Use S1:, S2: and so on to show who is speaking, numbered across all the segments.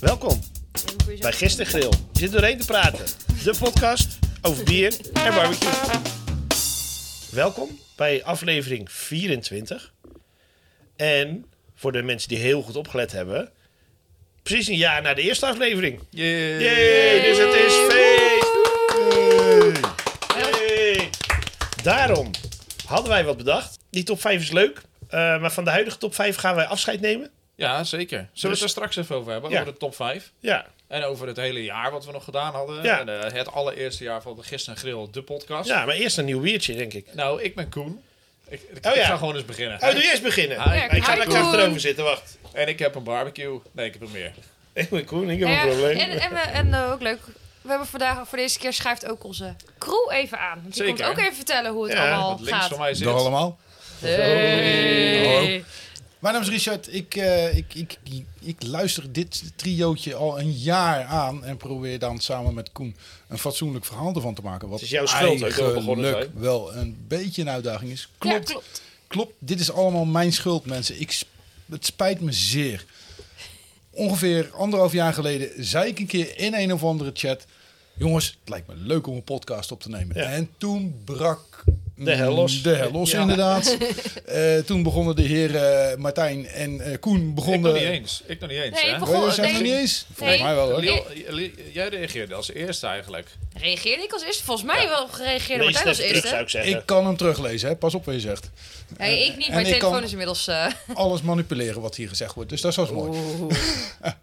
S1: Welkom bij Gistergrill. Je zit doorheen te praten. De podcast over bier en barbecue. Welkom bij aflevering 24. En voor de mensen die heel goed opgelet hebben, precies een jaar na de eerste aflevering.
S2: Yeah.
S1: Jee, dus het is feest! Hey. Daarom hadden wij wat bedacht. Die top 5 is leuk, eh, maar van de huidige top 5 gaan wij afscheid nemen.
S2: Ja, zeker. Zullen we
S1: Dus-
S2: het er straks even over hebben?
S1: Ja.
S2: Over de top 5.
S1: Ja,
S2: En over het hele jaar wat we nog gedaan hadden.
S1: Ja.
S2: En, eh, het allereerste jaar van de Gisteren Grill, de podcast.
S1: ja maar eerst een nieuw biertje, denk ik.
S2: Nou, ik ben Koen. Ik, ik,
S1: Oh,
S2: ik
S1: ja.
S2: ga gewoon eens beginnen.
S1: Oh, doe je eerst beginnen?
S2: Hi.
S1: Nee, Ik ga
S3: Hi,
S1: lekker
S3: Koen.
S1: achterover zitten, wacht.
S2: En ik heb een barbecue. Nee, ik heb er meer.
S1: Ik ben Koen, ik heb
S3: Nou
S1: een
S3: ja,
S1: probleem.
S3: En, en, we, en eh, ook leuk. We hebben vandaag voor deze keer schuift ook onze crew even aan. Want die
S2: Zeker.
S3: komt ook even vertellen hoe het
S1: Ja,
S3: allemaal
S2: Want links
S3: gaat. Eh,
S2: van mij zit...
S4: Dag allemaal.
S3: Hey.
S4: Mijn naam is Richard. Ik, eh, ik, ik, ik, ik luister dit triootje al een jaar aan en probeer dan samen met Koen een fatsoenlijk verhaal ervan te maken. Wat
S1: Het is jouw schuld ook dat we begonnen
S4: eigenlijk wel een beetje een uitdaging is.
S3: Ja,
S4: Klopt,
S3: klopt.
S4: klopt. Dit is allemaal mijn schuld, mensen. Ik, sp- het spijt me zeer. Ongeveer anderhalf jaar geleden zei ik een keer in een of andere chat... Jongens, het lijkt me leuk om een podcast op te nemen.
S1: Ja.
S4: En toen brak...
S1: De hel los.
S4: De hel los,
S1: Ja.
S4: inderdaad. Eh, toen begonnen de heren Martijn en eh, Koen
S2: Ik
S4: begonnen...
S2: nog niet eens. Ik nog niet eens,
S3: Nee,
S2: hè?
S3: ik begon-
S4: Oh, ja, zijn we
S3: Nee.
S4: nog niet eens?
S3: Nee.
S4: Volgens mij wel, hoor.
S2: Liel, Liel, jij reageerde als eerste eigenlijk.
S3: Reageerde ik als eerste? Volgens mij wel gereageerde
S1: Lees het
S3: Martijn als
S1: even terug, zou
S3: eerste.
S1: ik zeggen.
S4: Ik kan hem teruglezen, hè. Pas op wat je zegt.
S3: Hey, ik niet,
S4: En
S3: mijn
S4: ik
S3: telefoon
S4: kan-
S3: is inmiddels... eh,
S4: Alles manipuleren wat hier gezegd wordt. Dus dat is wel mooi.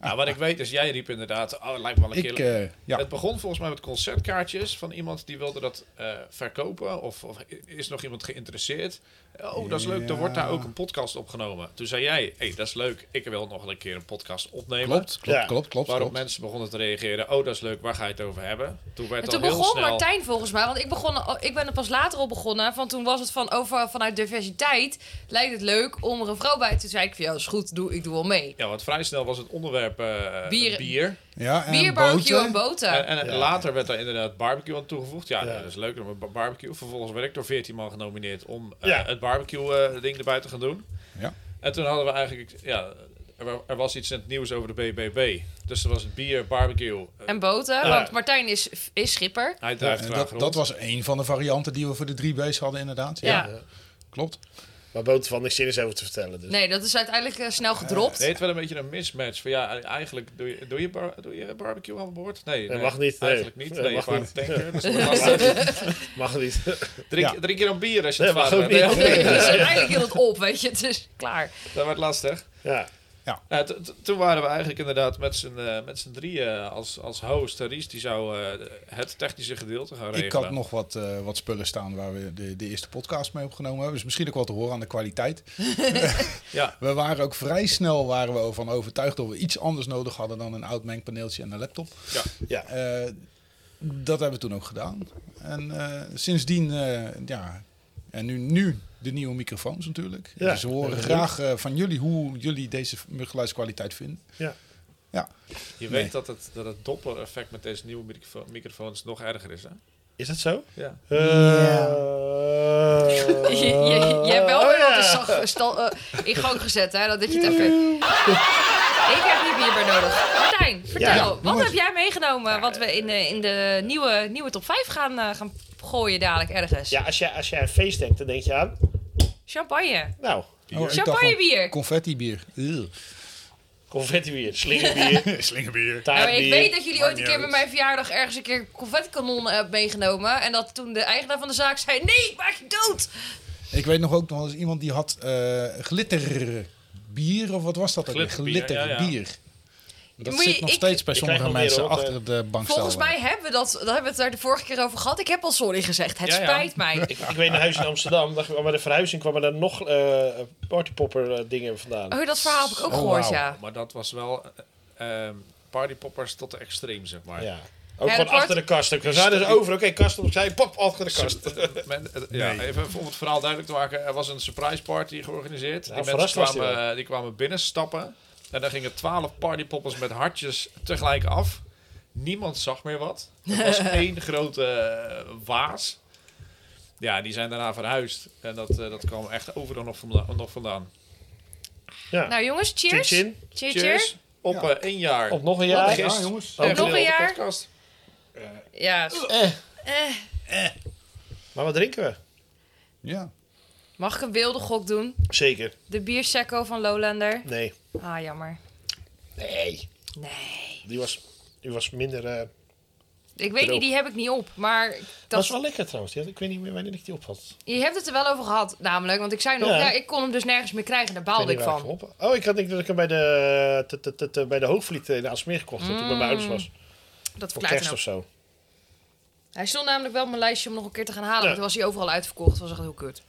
S2: Nou, wat ik weet is, jij riep inderdaad... Oh, het lijkt me wel een
S4: Ik,
S2: keer...
S4: eh, ja.
S2: Het begon volgens mij met concertkaartjes van iemand die wilde dat eh, verkopen. Of, of is nog iemand geïnteresseerd? Oh, dat is leuk. Er wordt daar ook een podcast opgenomen. Toen zei jij, hey, dat is leuk. Ik wil nog wel een keer een podcast opnemen.
S4: Klopt, klopt,
S1: Ja.
S4: klopt, klopt.
S2: Waarop
S4: klopt.
S2: mensen begonnen te reageren. Oh, dat is leuk. Waar ga je het over hebben? Toen werd
S3: En
S2: dat
S3: toen
S2: heel
S3: begon
S2: snel...
S3: Martijn volgens mij, want ik, begon, oh, ik ben er pas later op begonnen. Van toen was het van over, vanuit diversiteit lijkt het leuk om er een vrouw bij te zijn. Ik van, ja, is goed, doe, ik doe wel mee.
S2: Ja, want vrij snel was het onderwerp eh,
S3: Bier.
S2: bier.
S4: Ja, en
S3: Bier, barbecue
S4: boten.
S3: en boter.
S2: En, en
S1: Ja.
S2: later werd daar inderdaad barbecue aan toegevoegd. Ja,
S1: Ja.
S2: dat is leuk. Een barbecue. Vervolgens werd ik door 14 man genomineerd om eh,
S1: Ja.
S2: het barbecue-ding erbij te gaan doen.
S4: Ja.
S2: En toen hadden we eigenlijk... Ja, er, wa- er was iets in het nieuws over de BBB. Dus er was het bier, barbecue. eh,
S3: En boten,
S1: Ja.
S3: want Martijn is, is schipper.
S2: Hij
S4: Ja,
S2: drijft
S4: en
S2: graag
S4: dat,
S2: rond.
S4: dat was een van de varianten die we voor de drie B's hadden, inderdaad. Ja,
S3: Ja.
S4: klopt.
S1: Maar boven van niks zin is over te vertellen. Dus.
S3: Nee, dat is uiteindelijk eh, snel gedropt.
S2: Nee, het werd een beetje een mismatch. Van ja, eigenlijk doe je, doe je, bar- doe je barbecue aan boord? Nee,
S1: Dat
S2: nee,
S1: mag niet, nee.
S2: Eigenlijk niet.
S1: Dat
S2: Nee,
S1: mag
S2: je
S1: niet.
S2: niet. Tanker, dus dat mag niet.
S1: Mag niet.
S2: drink,
S4: Ja.
S2: drink je dan bier als je
S1: Nee,
S2: het
S1: mag
S2: vader
S1: ook
S2: bent?
S1: niet.
S2: Nee, oké.
S3: Dus uiteindelijk hield het op, weet je. Het is klaar.
S2: Dat werd lastig.
S1: ja.
S2: Nou, t- t- toen waren we eigenlijk inderdaad met z'n eh, met z'n drieën als, als host. En Ries die zou eh, het technische gedeelte gaan regelen.
S4: Ik had nog wat, eh, wat spullen staan waar we de, de eerste podcast mee opgenomen hebben. Dus misschien ook wel te horen aan de kwaliteit.
S2: Ja,
S4: We waren ook vrij snel waren we van overtuigd dat we iets anders nodig hadden dan een oud mengpaneeltje en een laptop.
S2: ja.
S1: ja.
S4: Eh, dat hebben we toen ook gedaan. En eh, sindsdien, eh, ja, en nu, nu de nieuwe microfoons natuurlijk.
S1: Ja.
S4: Dus we horen
S1: Ja.
S4: graag eh, van jullie hoe jullie deze geluidskwaliteit vinden.
S1: Ja.
S4: Ja,
S2: Je
S4: Nee.
S2: weet dat het, dat het dopper-effect met deze nieuwe microfo- microfoons nog erger is, hè?
S1: Is dat zo?
S2: Ja.
S1: Eh,
S3: Je, je, je hebt wel
S1: oh,
S3: weer wat
S1: ja.
S3: in zag- stal- eh, in gang gezet, hè. Dat dit je het even... Ik heb hier bier bij nodig. Martijn,
S1: Ja,
S3: vertel.
S4: doe
S3: wat
S4: maar.
S3: heb jij meegenomen wat we in de, in de nieuwe, nieuwe top 5 gaan, eh, gaan gooien dadelijk ergens?
S1: Ja, als jij, als jij aan feest denkt, dan denk je aan...
S3: Champagne.
S1: Nou,
S4: Oh, ik dacht
S3: Champagne
S4: van
S3: bier.
S4: Confetti bier.
S1: confettibier, slingerbier,
S4: Slingerbier.
S3: Nou, ik
S1: taartbier.
S3: weet dat jullie ooit een keer bij
S4: uit.
S3: mijn verjaardag ergens een keer confettikanon hebben meegenomen. En dat toen de eigenaar van de zaak zei, nee, ik maak je dood.
S4: Ik weet nog ook nog wel eens iemand die had eh glitterbier, of wat was dat ook? weer?
S2: Glitterbier, ja, ja.
S4: Glitterbier. Dat
S3: Moet je-
S4: zit nog
S3: ik-
S4: steeds bij
S1: Ik
S4: sommige
S1: krijg wel
S4: mensen
S1: weer, hoor,
S5: eh,
S4: achter de bank
S3: Volgens mij hebben we dat, daar hebben we het daar de vorige keer over gehad. Ik heb al sorry gezegd. Het
S2: Ja, ja.
S3: spijt mij.
S1: Ik, ik weet een huis in Amsterdam, dacht, ik, oh, maar de verhuizing kwam er dan nog eh partypopper eh, dingen vandaan.
S3: Oh, dat verhaal heb ik ook
S4: Oh,
S3: gehoord,
S4: wauw.
S3: ja.
S2: Maar dat was wel eh, ehm, partypoppers tot de extreem, zeg maar.
S1: Ja. Ook
S3: Ja, dat
S1: gewoon
S3: wordt-
S1: achter de kast. Ook. We zaten dus over, oké, kast opzij, pop, achter de kast.
S2: Men- eh, ja,
S4: Nee.
S2: even om het verhaal duidelijk te maken. Er was een surprise party georganiseerd.
S1: Nou,
S2: die
S1: verrast
S2: mensen
S1: was die
S2: kwamen, eh, die kwamen binnenstappen. En dan gingen twaalf partypoppers met hartjes tegelijk af. Niemand zag meer wat. Het was één grote eh, waas. Ja, die zijn daarna verhuisd. En dat, eh, dat kwam echt overal nog vandaan. Nog vandaan.
S1: Ja.
S3: Nou jongens,
S1: Chin
S3: cheers.
S1: chin.
S3: Cheer, cheer.
S2: Cheers. op
S4: Ja.
S2: eh, één jaar.
S5: Op nog een jaar.
S2: Gist.
S4: jongens.
S5: Oh.
S2: Echt
S3: Nog een
S2: heel de
S3: jaar?
S2: podcast.
S3: Ja. Eh.
S5: Maar wat drinken we?
S4: Ja.
S3: Mag ik een wilde gok doen?
S5: Zeker.
S3: De biersecco van Lowlander.
S5: Nee.
S3: Ah, jammer.
S5: Nee.
S3: Nee.
S5: Die was, die was minder... eh,
S3: Ik weet niet, die heb ik niet op. Maar
S5: Dat
S3: dat
S5: was wel lekker trouwens. Die had- Ik weet niet meer wanneer ik die op had. Ik
S3: je hebt het er wel over gehad, namelijk. Want ik zei nog,
S5: Ja.
S3: ja, ik kon hem dus nergens meer krijgen. Daar
S5: weet
S3: baalde
S5: niet
S3: ik
S5: waar
S3: van.
S5: hem op- Oh, ik had denk ik dat ik hem bij de, te- te- te- te- bij de Hoogvliet in de Aalsmeer gekocht had. Toen ik bij mijn ouders was.
S3: Dat
S5: Voor
S3: verklaart
S5: kerst
S3: het
S5: of
S3: Mm, ook.
S5: zo.
S3: Hij stond namelijk wel op mijn lijstje om nog een keer te gaan halen.
S5: Ja.
S3: Maar toen was hij overal uitverkocht. was echt heel kut.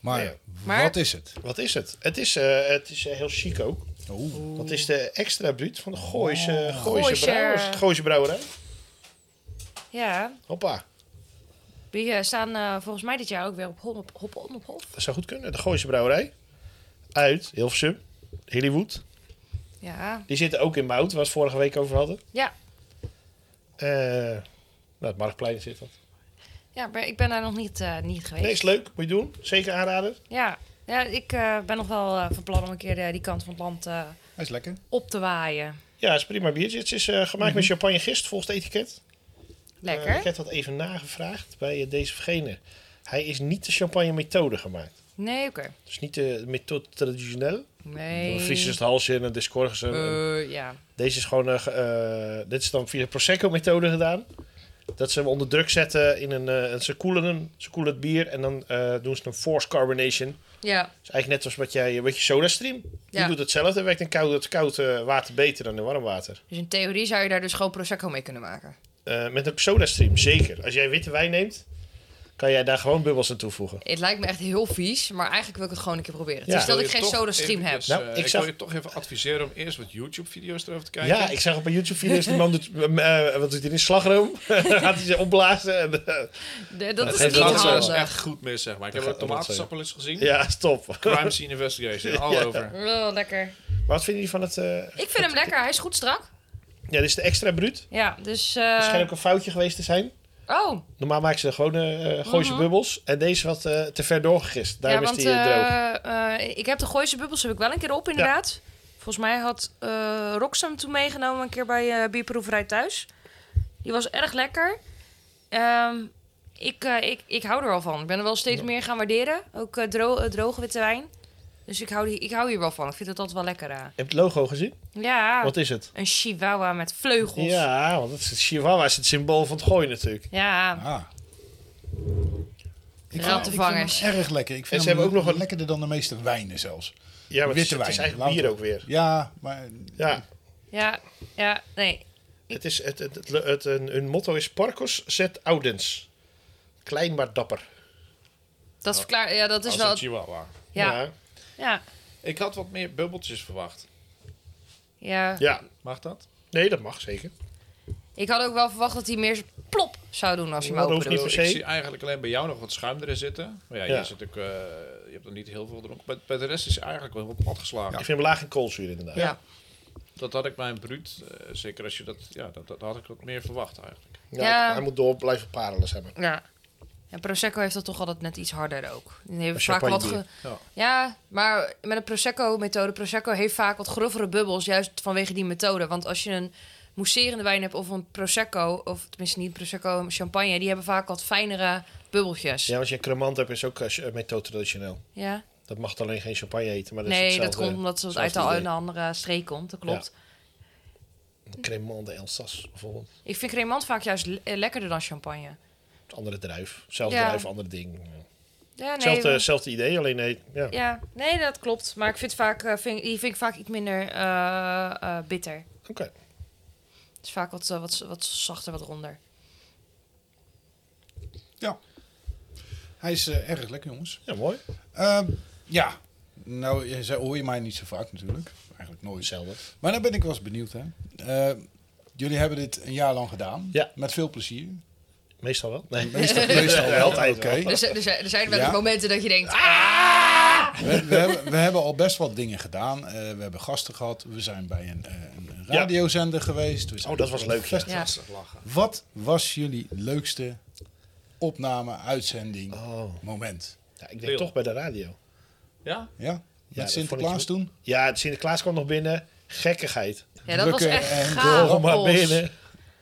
S4: Maar,
S5: Ja.
S3: Maar-
S4: wat is het?
S5: Wat is het? Het is, eh, het is eh, heel chic ook.
S4: Oeh.
S5: Dat is de extra bruut van de Gooise,
S3: Oh. Gooise.
S5: Gooise Brouwers. Gooise Brouwerij.
S3: Ja,
S5: Hoppa.
S3: die eh, staan eh, volgens mij dit jaar ook weer op Hop op Hop. Op, Hop.
S5: Dat zou goed kunnen. De Gooise Brouwerij. Uit Hilversum. Hollywood.
S3: Ja.
S5: Die zitten ook in Mout, waar we het vorige week over hadden.
S3: Ja.
S5: Eh, nou, het Marktplein zit dat.
S3: ja, maar ik ben daar nog niet, eh, niet geweest.
S5: Nee, is leuk. Moet je doen. Zeker aanraden.
S3: Ja. ja, ik eh, ben nog wel eh, van plan om een keer eh, die kant van het land eh,
S4: Hij is lekker.
S3: op te waaien.
S5: Ja, het is prima biertje. Het is eh, gemaakt met champagne gist, volgens het etiket.
S3: Mhm. Lekker.
S5: Eh, ik heb dat even nagevraagd bij eh, deze vergene. Hij is niet de champagne methode gemaakt.
S3: Nee, oké.
S5: Dus niet de methode traditioneel.
S3: Nee.
S5: Een Fries is het halsje en een discorgus. en-
S3: Eh, ja.
S5: Deze is gewoon, eh, ge- eh, dit is dan via de Prosecco-methode gedaan. Dat ze hem onder druk zetten in een, eh, en ze koelen hem, ze koelen het bier en dan eh, doen ze een force carbonation.
S3: Ja.
S5: Dat is eigenlijk net als wat jij, wat je soda stream. Die
S3: Ja.
S5: doet hetzelfde, werkt in koud, het koud eh, water beter dan in warm water.
S3: Dus in theorie zou je daar dus gewoon Prosecco mee kunnen maken.
S5: Eh, met een soda stream, zeker. Als jij witte wijn neemt, kan jij daar gewoon bubbels aan toevoegen.
S3: Het lijkt me echt heel vies, maar eigenlijk wil ik het gewoon een keer proberen.
S5: Ja.
S3: Het is dat
S2: wil
S3: ik
S2: je
S3: geen
S2: toch
S3: soda stream heb.
S2: eventjes,
S5: Nou,
S2: eh,
S5: ik
S2: ik
S5: zag-
S2: wil je toch even adviseren om eerst wat YouTube-video's erover te kijken.
S5: Ja, ik zag op een YouTube-video's, die man doet, eh, wat doet hij in slagroom? Gaat hij ze opblazen? En, eh,
S3: De- dat is
S5: geeft
S3: niet
S5: wel
S2: Dat is
S3: handig.
S2: echt goed mis, zeg maar. Ik heb
S5: Dat
S2: de
S5: gaat- dat
S2: tomatensappel eens gezien.
S5: ja, stop.
S2: Crime Scene Investigation, al over.
S3: Oh, lekker.
S5: Wat vinden jullie van het... eh,
S3: Ik vind hem lekker. Hij is goed strak.
S5: ja, dit is de extra bruut.
S3: Ja, dus...
S5: Er
S3: eh,
S5: schijnt ook een foutje geweest te zijn.
S3: oh,
S5: Normaal maken ze gewoon eh eh, Gooise bubbels. En deze wat eh, te ver doorgegist. Daarom
S3: Uh-huh. ja,
S5: is
S3: want
S5: die eh, droog.
S3: eh, eh, ik heb de Gooise bubbels heb ik wel een keer op, inderdaad. Volgens mij had eh Roxham toen meegenomen een keer bij eh Bierproeverij thuis. Die was erg lekker. Ehm, ik, eh, ik, ik hou er wel van. Ik ben er wel steeds meer gaan waarderen. Ook eh, dro- eh, droge witte wijn. Dus ik hou, die- ik hou hier wel van. Ik vind het altijd wel lekker. eh.
S5: Heb je het logo gezien?
S3: Ja,
S5: Wat is het?
S3: een chihuahua met vleugels.
S5: Ja, want het is, Chihuahua is het symbool van het gooien natuurlijk.
S3: Ja,
S4: Ah. Ik
S3: Rattenvangers.
S4: vind hem erg lekker. Ik vind
S5: En ze
S4: hem
S5: hebben ook nog
S4: wel
S5: een-
S4: lekkerder dan de meeste wijnen zelfs.
S5: Ja, maar het is,
S4: Witte
S5: het is
S4: wijn,
S5: eigenlijk bier
S4: louter.
S5: ook weer.
S4: Ja, maar
S5: Ja,
S3: ja, ja, nee.
S5: het is, het, het, het, het- hun- hun motto is Parcos zet Oudens. Klein maar dapper. Oh.
S3: Dat, verklaar, ja, dat is
S2: Als
S3: wel...
S2: een chihuahua.
S3: Ja, ja,
S2: Ik had wat meer bubbeltjes verwacht.
S3: ja.
S5: ja.
S2: Mag dat?
S5: Nee, dat mag zeker.
S3: Ik had ook wel verwacht dat hij meer plop zou doen als hij
S5: Ja,
S3: hem
S5: dat
S3: open
S5: hoeft
S2: Ik
S5: niet
S3: doet.
S2: bedoel,
S5: per
S2: Ik
S5: se.
S2: zie eigenlijk alleen bij jou nog wat schuim erin zitten. Maar ja,
S5: Ja.
S2: Je, zit ook, eh, je hebt er niet heel veel dronken. Bij, bij de rest is hij eigenlijk wel op pad geslagen.
S5: Ik vind hem laag in koolzuur inderdaad.
S3: Ja.
S2: Dat had ik bij een bruut. eh, zeker als je dat... Ja, dat, dat had ik wat meer verwacht eigenlijk.
S5: Ja,
S3: Ja.
S5: Hij moet door blijven parelen, zeg maar.
S3: Ja. En Prosecco heeft dat toch altijd net iets harder ook. Die hebben
S5: Een
S3: vaak wat
S5: champagnebier.
S3: ge-
S2: Ja.
S3: ja, maar met een Prosecco-methode. Prosecco heeft vaak wat grovere bubbels, juist vanwege die methode. Want als je een mousserende wijn hebt of een Prosecco, of tenminste niet Prosecco, een champagne, die hebben vaak wat fijnere bubbeltjes.
S5: Ja,
S3: Ja.
S5: als je een cremant hebt, is ook eh, methode traditioneel. Dat mag alleen geen champagne eten, maar dat is
S3: Nee, dat
S5: hetzelfde.
S3: komt omdat ze uit
S5: hetzelfde
S3: de,
S5: idee.
S3: een andere streek komt. Dat klopt.
S5: Een Cremant de Elsass bijvoorbeeld.
S3: Ik vind cremant vaak juist le- eh, lekkerder dan champagne.
S5: Andere druif. Zelfde
S3: Ja.
S5: druif, ander ding.
S3: Ja, nee,
S5: Hetzelfde
S3: want-
S5: hetzelfde idee, alleen nee. Ja.
S3: Ja, nee, dat klopt. Maar ik vind vaak, eh, vind, die vind ik vaak iets minder eh, eh, bitter.
S5: Oké.
S3: Het is vaak wat, eh, wat, wat zachter, wat ronder.
S4: hij is eh, erg lekker, jongens.
S1: Oh,
S5: Ja, mooi.
S4: Ehm, ja. Nou, je zei- hoor je mij niet zo vaak natuurlijk. Eigenlijk nooit.
S5: Hetzelfde.
S4: Maar dan ben ik wel eens benieuwd, hè. Ehm, jullie hebben dit een jaar lang gedaan.
S5: Ja.
S4: Met veel plezier.
S5: Meestal wel. Nee.
S4: Meestal, meestal wel.
S5: Altijd
S4: Oké.
S5: wel.
S3: Er, zijn- er zijn- er zijn wel
S4: Ja.
S3: eens momenten dat je denkt... Ah!
S4: We, we, hebben, we hebben al best wat dingen gedaan. Eh, we hebben gasten gehad. We zijn bij een, eh, een
S5: Ja.
S4: radiozender geweest. We zijn
S5: Oh, dat was
S4: bij een
S5: leuk, ja.
S4: festival.
S3: Ja.
S2: Lastig lachen.
S4: Wat was jullie leukste opname, uitzending,
S5: Oh.
S4: moment?
S5: Ja, ik denk
S2: Lul.
S5: toch bij de radio.
S2: Ja?
S4: Ja? Met
S5: dat
S4: Sinterklaas
S5: vond ik
S4: toen?
S5: Ja, Sinterklaas kwam nog binnen. Gekkigheid.
S3: Ja, dat was
S4: drukken
S3: echt
S4: en
S3: gaaf.
S1: Kom maar
S3: Appels.
S1: binnen.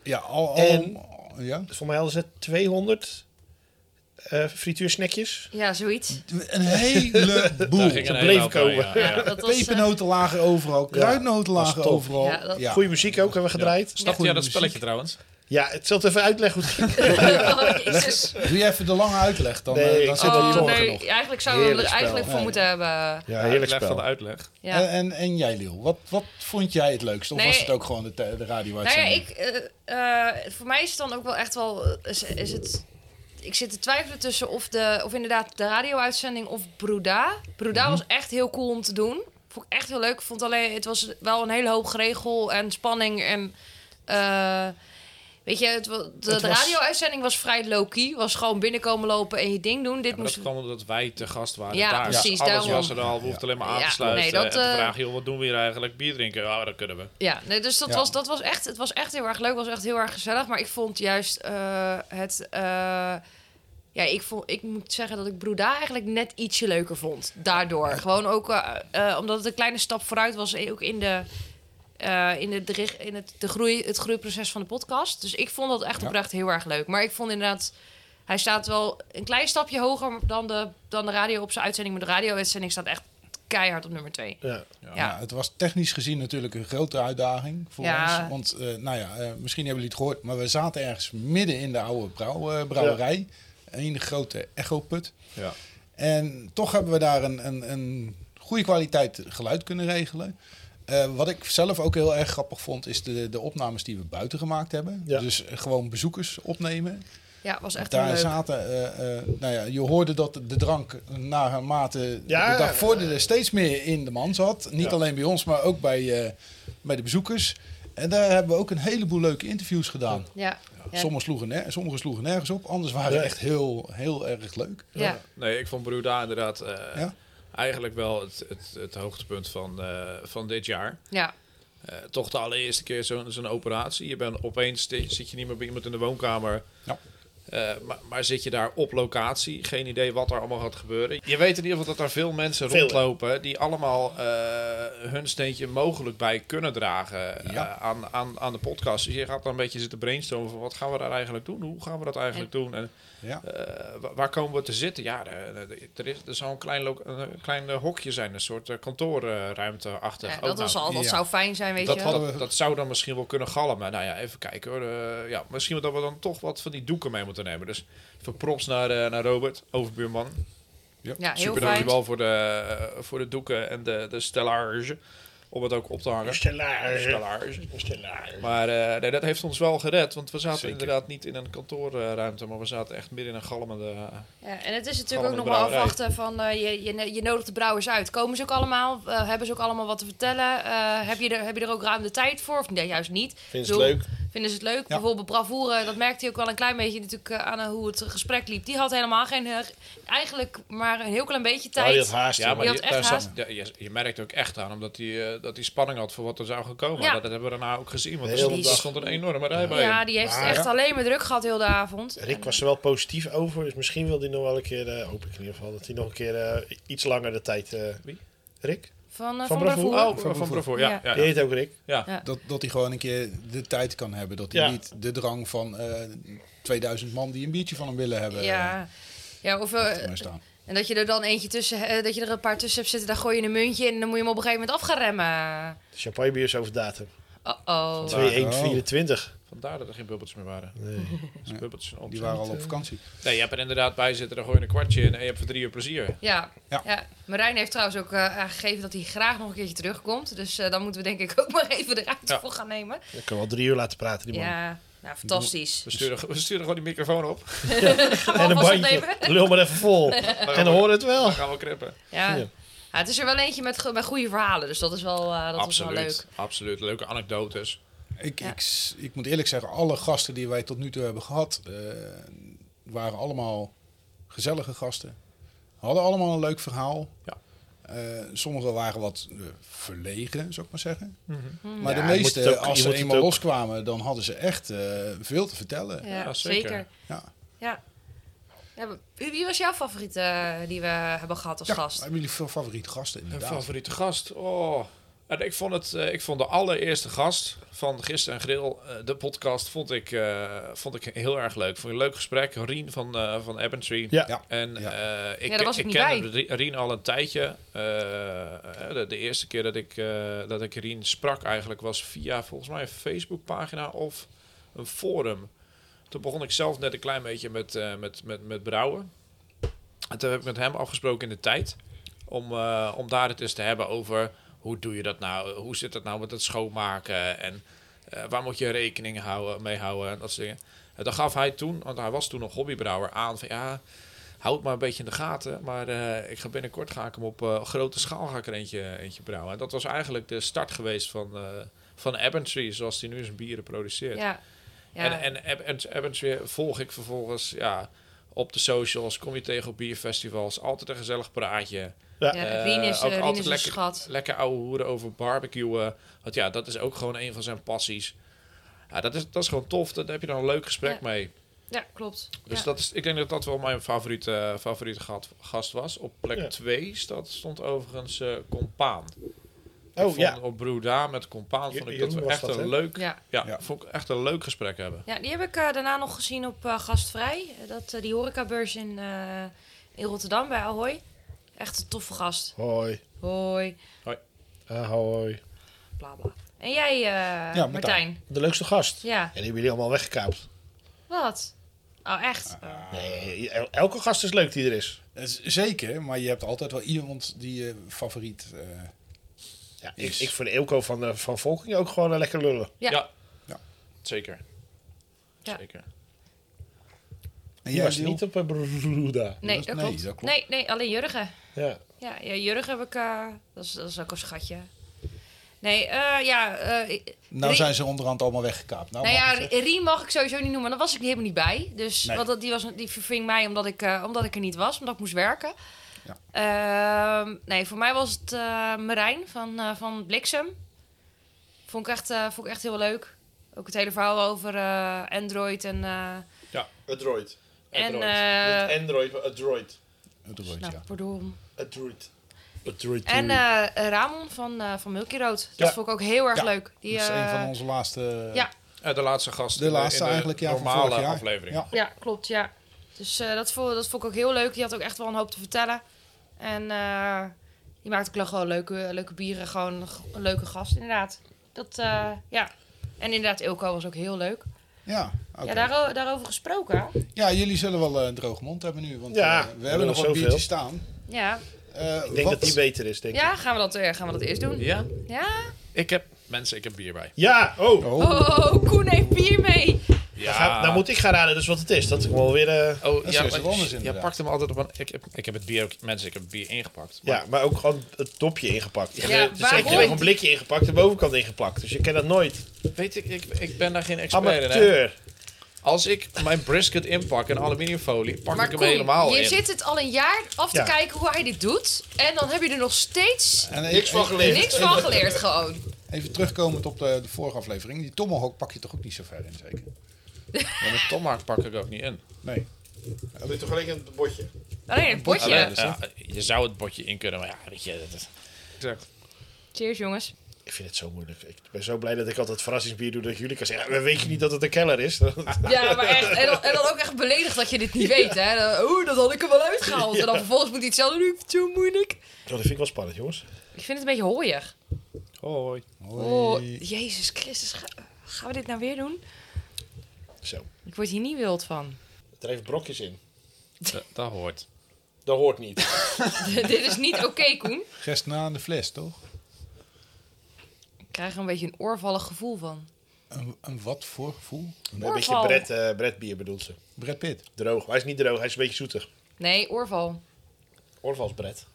S4: Ja, al, al-
S1: En-
S4: ja.
S1: Voor mij hadden ze 200 eh frituursnackjes.
S3: Ja, zoiets.
S4: Een heleboel.
S2: Daar ging
S1: Ze
S2: een
S1: bleef
S2: hele hoop mee,
S1: komen.
S2: ja, ja.
S3: dat was, eh,
S4: Pepernoten lagen overal, kruidnoten
S1: was
S4: lagen
S1: top.
S4: overal.
S3: Ja, dat-
S1: Goede muziek ook hebben we gedraaid.
S2: Snap
S4: Goeie
S2: jij dat
S4: muziek.
S2: spelletje trouwens?
S1: Ja, ik zal het even uitleggen hoe het ging.
S3: oh, jezus.
S4: Doe je even de lange uitleg, dan, eh,
S1: Nee,
S4: dan
S1: ik-
S4: zit er
S3: Oh,
S4: nog
S3: nee,
S4: genoeg.
S3: eigenlijk zouden we
S1: Heerlijk
S3: er
S1: spel.
S3: eigenlijk voor
S4: Ja, Eh,
S3: moeten hebben. eh,
S1: Ja, heerlijk
S2: Uitleg van de
S1: spel.
S2: uitleg.
S3: Oh, Ja.
S4: En, en, en jij, Liel, wat, wat vond jij het leukst? Of
S3: Nee,
S4: was het ook gewoon de, te- de radio
S3: Nou ja, ik, eh, eh, voor mij is het dan ook wel echt wel. eh, Is, is het, ik zit te twijfelen tussen of, de, of inderdaad de radio-uitzending of Bruda. Bruda was echt heel cool om te doen. Vond ik echt heel leuk. Vond alleen, het was wel een hele hoop geregel en spanning. En eh, weet je, het, wa- de,
S1: Het
S3: de
S1: was-
S3: radio-uitzending was vrij low-key. Was gewoon binnenkomen lopen en je ding doen. Dit
S2: Ja, maar
S3: moest.
S2: dat kwam omdat wij te gast waren
S3: Ja,
S2: daar.
S3: precies,
S2: Alles
S3: daarom.
S2: was er al. We hoefden alleen maar aan
S3: Ja,
S2: te sluiten.
S3: nee, dat,
S2: en te
S3: eh,
S2: vragen, joh, wat doen we hier eigenlijk? Bier drinken? Ja, dat kunnen we.
S3: Ja, nee, dus dat,
S4: Ja.
S3: was, dat was, echt, het was echt heel erg leuk. was echt heel erg gezellig. Maar ik vond juist eh, het... eh, ja, ik, vond, ik moet zeggen dat ik Bruda eigenlijk net ietsje leuker vond. Daardoor. Gewoon ook eh, eh, omdat het een kleine stap vooruit was. eh, Ook in de... eh, in, de, dri- in het, de groei, het groeiproces van de podcast. Dus ik vond dat echt
S4: Ja.
S3: oprecht heel erg leuk. Maar ik vond inderdaad... Hij staat wel een klein stapje hoger dan de, dan de radio op zijn uitzending. Maar de radio-uitzending staat echt keihard op nummer twee.
S1: Ja.
S4: Ja. Nou, het was technisch gezien natuurlijk een grote uitdaging voor
S3: Ja.
S4: ons. Want eh, nou ja, eh, misschien hebben jullie het gehoord, maar we zaten ergens midden in de oude brouw, eh, brouwerij. Een grote echoput.
S2: Ja.
S4: En toch hebben we daar een, een, een goede kwaliteit geluid kunnen regelen. Eh, wat ik zelf ook heel erg grappig vond, is de, de opnames die we buiten gemaakt hebben.
S1: Ja.
S4: Dus gewoon bezoekers opnemen.
S3: Ja, was echt heel
S4: Daar
S3: leuk.
S4: zaten, eh, eh, nou ja, je hoorde dat de drank naarmate
S1: Ja. eh,
S4: de dag vorderde steeds meer in de man zat. Niet
S1: Ja.
S4: alleen bij ons, maar ook bij, eh, bij de bezoekers. En daar hebben we ook een heleboel leuke interviews gedaan.
S3: Ja. Ja.
S4: Sommige, sloegen ner- sommige sloegen nergens op, anders waren
S1: Ja.
S4: echt heel, heel erg leuk.
S3: ja.
S2: Nee, ik vond Bruda inderdaad eh,
S4: Ja.
S2: eigenlijk wel het, het, het hoogtepunt van, eh, van dit jaar.
S3: Ja,
S2: Eh, toch de allereerste keer zo'n zo'n operatie. Je bent opeens sti- zit je niet meer bij iemand in de woonkamer.
S4: Ja.
S2: Eh, maar, maar zit je daar op locatie? Geen idee wat er allemaal gaat gebeuren. Je weet in ieder geval dat er veel mensen
S1: Veel.
S2: rondlopen die allemaal eh, hun steentje mogelijk bij kunnen dragen eh,
S4: Ja.
S2: aan, aan, aan de podcast. Dus je gaat dan een beetje zitten brainstormen van wat gaan we daar eigenlijk doen? Hoe gaan we dat eigenlijk doen? En
S4: Ja.
S2: eh, wa- waar komen we te zitten? Ja, er, er- er is, er zal een klein, lo- een klein eh, hokje zijn, een soort eh, kantoorruimte-achtig.
S3: ja
S2: Ook
S3: dat
S2: nou,
S3: was al. Dat
S4: ja.
S3: zou fijn zijn, weet
S2: dat,
S3: je.
S2: had-
S4: Hadden we-
S2: dat zou dan misschien wel kunnen galmen. Nou ja, even kijken hoor. Eh, ja, misschien dat we dan toch wat van die doeken mee moeten nemen. Dus voor props naar, eh, naar Robert, overbuurman.
S3: ja, heel
S2: Super
S3: fijn.
S2: dankjewel voor de, eh, voor de doeken en de, de stellage. Om het ook op te hangen.
S1: Stellage.
S2: Stellage.
S1: Stellage.
S2: Maar eh, nee, dat heeft ons wel gered. Want we zaten
S1: Zeker.
S2: inderdaad niet in een kantoorruimte. Maar we zaten echt midden in een galmende... eh,
S3: Ja, en het is natuurlijk ook
S2: Allemaal
S3: nog wel
S2: brouwerij.
S3: afwachten van eh, je, je, je nodigt de brouwers uit. Komen ze ook allemaal? Eh, hebben ze ook allemaal wat te vertellen? Eh, heb, je er, heb je er ook ruim de tijd voor? Of nee, juist niet.
S1: Vind je
S3: Doe.
S1: het leuk?
S3: Vinden ze het leuk? Bijvoorbeeld bravoure, dat merkte hij ook wel een klein beetje natuurlijk eh, aan eh, hoe het gesprek liep. Die had helemaal geen, eh, eigenlijk maar een heel klein beetje
S1: Ja, die
S3: tijd.
S1: had haast.
S2: Ja, maar
S3: Je
S2: je,
S3: had echt
S2: daar
S3: haast.
S2: zat, ja, je, je merkt ook echt aan, omdat hij eh, dat hij spanning had voor wat er zou gaan komen.
S3: Ja.
S2: Dat, dat hebben we daarna ook gezien, want er
S1: De hele
S2: stond, er
S1: dag.
S2: stond een enorme rij bij
S3: ja,
S2: hem.
S3: die heeft het
S1: Maar-
S3: echt alleen maar druk gehad heel de avond.
S1: Rick was er wel positief over, dus misschien wil hij nog wel een keer, eh, hoop ik in ieder geval, dat hij nog een keer eh, iets langer de tijd... eh,
S2: Wie?
S1: Rick?
S3: Van, eh,
S1: Van
S3: van,
S1: Bravoure?
S3: bravoure.
S2: Oh, van, van Bravoer, ja.
S3: Ja.
S2: ja,
S1: Die
S2: ja.
S1: heet ook Rick.
S4: Dat, dat hij gewoon een keer de tijd kan hebben. Dat hij
S1: Ja.
S4: niet de drang van eh, 2000 man die een biertje van hem willen hebben. eh,
S3: Ja. Ja, of eh,
S4: achter mij staan.
S3: En dat je er dan eentje tussen, eh, dat je er een paar tussen hebt zitten, daar gooi je een muntje in en dan moet je hem op een gegeven moment af gaan remmen.
S1: De champagnebier is over datum.
S3: Oh oh.
S2: Vandaar.
S1: 2124.
S2: Ah, Vandaar dat er geen bubbeltjes meer waren. Dus
S4: Ja.
S2: bubbeltjes zijn
S4: Die
S2: opzij.
S4: waren al op vakantie.
S2: Nee, je hebt er inderdaad bij zitten, dan gooi je een kwartje in en je hebt voor drie uur plezier.
S3: Ja.
S4: Ja.
S3: ja. Marijn heeft trouwens ook eh, aangegeven dat hij graag nog een keertje terugkomt. Dus eh, dan moeten we denk ik ook maar even de ruimte
S2: Ja.
S3: voor gaan nemen.
S1: Ik kan wel drie uur laten praten, die man.
S3: Ja, nou fantastisch.
S2: We sturen, we sturen gewoon die microfoon op.
S3: Gaan we
S1: En een
S3: alvast
S1: bandje.
S3: opnemen?
S1: Lul maar even vol.
S2: Dan
S1: En dan hoor het wel.
S2: Dan gaan we krippen.
S3: Ja.
S1: Ja.
S3: Ja, het is er wel eentje met, go- met goede verhalen, dus dat is wel, eh, dat is wel
S2: absoluut,
S3: leuk.
S2: absoluut. Leuke anekdotes.
S4: Ik,
S3: Ja.
S4: ik, s- ik moet eerlijk zeggen, alle gasten die wij tot nu toe hebben gehad, eh, waren allemaal gezellige gasten. Hadden allemaal een leuk verhaal.
S2: Ja.
S4: Eh, sommigen waren wat eh, verlegen, zou ik maar zeggen.
S3: Mhm.
S4: Maar
S1: Ja, je
S4: de
S1: moet het
S4: meesten,
S1: ook-
S4: als
S1: je
S4: ze
S1: moet het
S4: eenmaal
S1: ook-
S4: loskwamen, dan hadden ze echt eh, veel te vertellen.
S3: Ja,
S2: Ja, zeker.
S3: zeker.
S4: Ja.
S3: Ja. Ja, wie, wie was jouw favoriet eh, die we hebben gehad als
S4: Ja,
S3: gast?
S4: hebben jullie veel favoriete gasten
S2: Mijn
S4: inderdaad?
S2: favoriete gast? Oh, En ik vond, het, eh, ik vond de allereerste gast van Gisteren en Grill, eh, de podcast, vond ik, eh, vond ik heel erg leuk. Vond ik een leuk gesprek. Rien van, eh van Abbentree.
S1: Ja.
S4: Ja.
S2: En
S4: Ja.
S2: eh, ik,
S3: Ja, daar was
S2: ik
S3: ik
S2: ken
S3: niet
S2: Ri- Rien al een tijdje. Eh, eh, de, de eerste keer dat ik, eh, dat ik Rien sprak eigenlijk was via volgens mij een Facebookpagina of een forum. Toen begon ik zelf net een klein beetje met, eh, met, met, met brouwen. En toen heb ik met hem afgesproken in de tijd. Om, eh, om daar het eens te hebben over hoe doe je dat nou? Hoe zit dat nou met het schoonmaken? En eh, waar moet je rekening houden, mee houden? En dat soort dingen. En dan gaf hij toen, want hij was toen nog hobbybrouwer, aan van ja, houd maar een beetje in de gaten. Maar eh, ik ga binnenkort ga ik hem op eh, grote schaal ga ik er eentje, eentje brouwen. En dat was eigenlijk de start geweest van, eh van Abbentree, zoals hij nu zijn bieren produceert.
S3: Ja. ja.
S2: En, en Ab- Ab- Abbons weer volg ik vervolgens ja, op de socials. Kom je tegen op bierfestivals. Altijd een gezellig praatje.
S3: Ja,
S2: eh,
S3: Rien is,
S2: ook
S3: eh, Rien
S2: altijd
S3: is een
S2: lekker-
S3: schat.
S2: Lekker ouwe hoeren over barbecuen. Want ja, dat is ook gewoon een van zijn passies. Ja, dat, is, dat is gewoon tof. Daar heb je dan een leuk gesprek
S3: Ja.
S2: mee.
S3: Ja, klopt.
S2: Dus
S3: Ja.
S2: dat is, ik denk dat dat wel mijn favoriete, favoriete gat- gast was. Op
S1: Ja.
S2: plek 2 stond overigens eh Compaan. Ik
S1: Oh
S2: vond
S1: ja.
S2: Op Breda met Compaan
S1: Je-
S2: vond ik dat
S1: Jeroen
S2: we
S1: was
S2: echt,
S1: dat, hè?
S2: een leuk, ja.
S3: Ja.
S4: Ja.
S2: Vond ik echt een leuk gesprek hebben.
S3: Ja, die heb ik eh, daarna nog gezien op eh, Gastvrij. Eh, Dat, eh, die horecabeurs in, eh, in Rotterdam bij Ahoy. Echt een toffe gast.
S1: Hoi.
S3: Hoi,
S1: Ahoi.
S3: bla bla. En jij, eh,
S4: Martijn.
S3: Martijn.
S1: De leukste gast.
S3: Ja,
S1: En die hebben jullie allemaal weggekaapt.
S3: wat? Oh, echt?
S4: Ah,
S3: Oh.
S2: Ah.
S1: Nee, el- elke gast is leuk die er is.
S4: Dat is Eh, Zeker, maar je hebt altijd wel iemand die je favoriet... eh,
S1: Ja, ik,
S4: Yes.
S1: ik vind Eelco van, eh, van Volking ook gewoon een lekker lullen.
S3: Ja.
S4: Ja.
S2: Zeker.
S3: Ja.
S2: Zeker.
S4: en
S1: Die
S4: jij
S1: was
S4: Lil?
S1: niet op eh, Bruda.
S3: Nee,
S4: Dat-
S3: dat,
S4: nee,
S3: klopt.
S4: dat klopt.
S3: Nee, nee, alleen Jurgen.
S1: Ja.
S3: Ja, ja Jurgen heb ik... eh, dat, is, dat is ook een schatje. Nee, eh, ja... eh, ik-
S4: Nou
S3: Rie-
S4: zijn ze onderhand allemaal weggekaapt. Nou,
S3: nou
S4: mag
S3: ja,
S4: ik zeggen.
S3: Rien mag ik sowieso niet noemen. Daar was ik helemaal niet bij. Dus,
S4: Nee.
S3: Want dat, die, was, die verving mij omdat ik, eh, omdat ik er niet was. Omdat ik moest werken.
S4: Ja.
S3: Ehm, nee, voor mij was het eh Marijn van, eh, van Bliksem. Vond ik, echt, eh, vond ik echt heel leuk. Ook het hele verhaal over eh, Android en... eh,
S1: Adroid.
S3: en
S2: Android.
S3: eh,
S1: Android, Adroid.
S4: Dat wordt,
S3: nou,
S4: ja.
S3: pardon.
S1: Adroid. Adroid.
S3: En eh, Ramon van, eh, van Milky Road. Dat
S1: Ja.
S3: vond ik ook heel erg
S4: Ja.
S3: leuk. Die,
S4: Dat is een
S3: eh,
S4: van onze laatste...
S3: ja.
S2: Eh, de laatste gast.
S4: De
S2: in
S4: laatste
S2: in
S4: eigenlijk, ja, van
S2: normale
S4: vorig jaar.
S2: aflevering.
S4: Ja.
S3: Ja, klopt, ja. Dus eh, dat, vond, dat vond ik ook heel leuk. Die had ook echt wel een hoop te vertellen. En eh, die maakt ook wel gewoon leuke, leuke bieren. Gewoon een g- een leuke gast, inderdaad. Dat, eh, ja. En inderdaad, Ilko was ook heel leuk.
S4: Ja, oké.
S3: Ja, daaro- daarover gesproken.
S4: Ja, jullie zullen wel eh, een droog mond hebben nu, want
S1: Ja,
S4: eh,
S1: we
S4: we
S1: hebben
S4: hebben nog
S1: er
S4: wat
S1: zoveel.
S4: biertjes staan.
S3: Ja,
S4: Eh,
S1: ik denk
S4: wat-
S1: dat die beter is, denk ik.
S3: ja gaan, we dat, eh, gaan we dat eerst doen?
S2: Ja?
S3: Ja?
S2: Ik heb, mensen, ik heb bier bij.
S1: Ja, oh.
S4: Oh,
S3: Oh, Koen heeft bier mee.
S1: Dan gaat- nou moet ik gaan raden dus wat het is. Dat ik wel weer... eh,
S2: Oh,
S4: Dat
S2: ja,
S4: is wat
S2: maar-
S4: anders
S2: ja,
S4: inderdaad.
S2: pakt hem altijd op een... Ik heb, ik heb het bier ook... Mensen, ik heb het bier ingepakt. Maar
S1: ja, maar ook gewoon het dopje ingepakt.
S3: Ja,
S1: Ja, dus ik
S3: waarom?
S1: heb nog een blikje ingepakt, de bovenkant ingeplakt. Dus je kent dat nooit.
S2: Weet ik, ik, ik ben daar geen expert in. Hè.
S1: Amateur.
S2: Als ik mijn brisket inpak in aluminiumfolie, pak
S3: Maar
S2: ik hem
S3: Koen,
S2: helemaal
S3: je
S2: in.
S3: zit het al een jaar af te
S1: Ja.
S3: kijken hoe hij dit doet. En dan heb je er nog steeds
S4: en
S1: Niks van geleerd.
S3: niks van geleerd gewoon.
S4: Even terugkomend op de, de vorige aflevering. Die tomahawk pak je toch ook niet zo ver in, zeker?
S2: Ja, maar tomahawk pak ik ook niet in.
S4: Nee.
S1: Dat doe toch alleen in het bordje.
S3: Alleen het potje.
S2: Alleen,
S4: dus
S2: ja, je zou het bordje in kunnen, maar ja, weet je... Dat is...
S3: Cheers jongens.
S1: Ik vind het zo moeilijk. Ik ben zo blij dat ik altijd verrassingsbier doe dat jullie kan zeggen. "Ja, maar weet je niet dat het een keller is?
S3: Ja, maar echt. En dan, en dan ook echt beledigd dat je dit niet weet, hè. Dan, Oeh, dat had ik er wel uitgehaald. En dan vervolgens moet hij het zelf doen. Ik vind het zo moeilijk.
S1: Oh, dat vind ik wel spannend, jongens.
S3: Ik vind het een beetje hooier.
S2: Hoi.
S3: Oh,
S4: Hoi.
S3: jezus Christus. Ga- gaan we dit nou weer doen?
S1: Zo.
S3: Ik word hier niet wild van.
S1: Er heeft brokjes in.
S2: Dat, dat hoort.
S1: Dat hoort niet.
S3: dit is niet oké, Koen.
S4: Gest na aan de fles, toch?
S3: Ik krijg er een beetje een oorvallig gevoel van.
S4: Een, een wat voor gevoel?
S1: Een beetje
S3: Oorval.
S1: Brett, eh, Brett bier bedoelt ze.
S4: Brad Pitt.
S1: Droog. Maar hij is niet droog, hij is een beetje zoetig.
S3: Nee, oorval.
S1: Orval is Brett.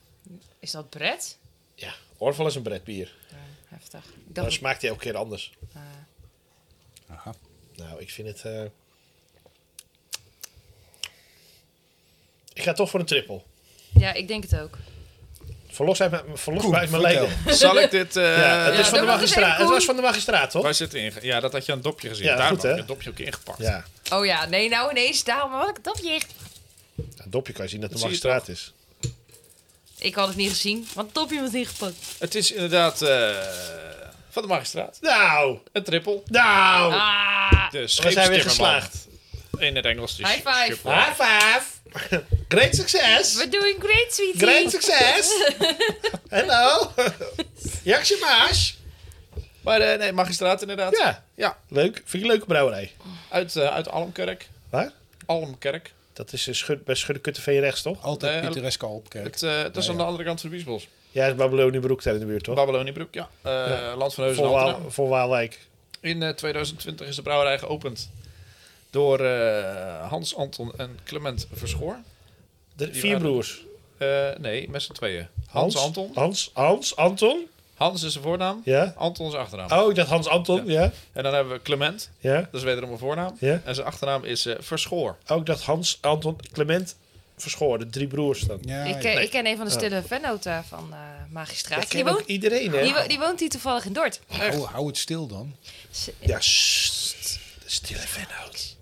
S3: Is dat Brett?
S1: Ja, Orval is een Brett bier.
S3: Heftig. Ik
S1: Maar
S3: dacht,
S1: smaakt hij elke keer anders.
S4: Aha.
S1: Nou, ik vind het... eh, Ik ga toch voor een triple.
S3: ja, ik denk het ook.
S1: Verlos uit mijn, verlos
S4: Koen,
S1: mij uit mijn
S4: vertel.
S1: leden.
S2: Zal ik dit... eh,
S1: Ja, het,
S3: ja,
S1: is van
S3: doe nog
S1: de
S3: eens
S1: magistraat,
S3: even,
S1: het was
S3: Koen.
S1: van de magistraat, toch?
S2: Waar zit het in? Ja, dat had je aan het dopje gezien.
S1: Ja,
S2: Daarom
S1: goed,
S2: heb
S1: hè?
S2: ik het dopje ook ingepakt.
S1: Ja,
S3: Oh ja, nee, nou ineens. Daarom had ik het dopje.
S1: een dopje kan je zien dat de
S2: Dat zie je
S1: magistraat is.
S3: Ik had het niet gezien, want top iemand ingepakt.
S2: Het is inderdaad eh, van de magistraat.
S1: Nou,
S2: Een triple.
S1: nou.
S3: Ah,
S2: De
S1: we zijn weer
S2: scheepstimmerman.
S1: geslaagd.
S2: In het Engels. dus de
S3: High five.
S2: schipper.
S1: High five. Great succes.
S3: we're doing great, sweetie.
S1: Great succes. Hallo. Jaksje Maas.
S2: Maar eh, nee, magistraat inderdaad.
S1: Ja,
S2: Ja,
S1: leuk. Vind ik een leuke brouwerij.
S2: uit, eh, uit Almkerk.
S1: Waar?
S2: Almkerk.
S1: Dat is eh, schud, bij Schuddekutteveen rechts, toch?
S4: Altijd
S2: Nee,
S4: pittoresk Alpkerk.
S2: Het, eh, dat is
S4: Ja,
S2: aan
S4: ja.
S2: de andere kant van de Biesbos.
S1: Ja, is Babyloniebroek daar in de buurt, toch?
S2: Babyloniebroek, ja. Eh, Land van Heus en
S1: Voor,
S2: Altena.
S1: Waal, voor Waalwijk.
S2: In eh, 2020 is de brouwerij geopend door eh, Hans, Anton en Clement Verschoor.
S1: De
S2: Die
S1: vier
S2: waren-
S1: broers.
S2: Eh, nee, met z'n tweeën. Hans, Anton.
S1: Hans, Hans, Anton.
S2: Hans is zijn voornaam.
S1: Ja.
S2: Anton is achternaam.
S1: Oh, ik dacht Hans Anton. Ja.
S2: En dan hebben we Clement.
S1: Ja.
S2: Dat is wederom een voornaam.
S1: Ja.
S2: En zijn achternaam is eh, Verschoor.
S1: Ook dat Oh, Hans, Anton, Clement Verschoor. De drie broers dan.
S4: Ja,
S3: Ik,
S4: ja.
S3: ken- ik ken een van de stille vennoten van eh Magistraat.
S1: Ik
S3: die,
S1: ken ook
S3: woont,
S1: iedereen, hè?
S3: die, wo- die woont hier toevallig in Dordt.
S4: Hou, hou het stil dan.
S3: Ze,
S1: Ja, sst. De stille vennoot.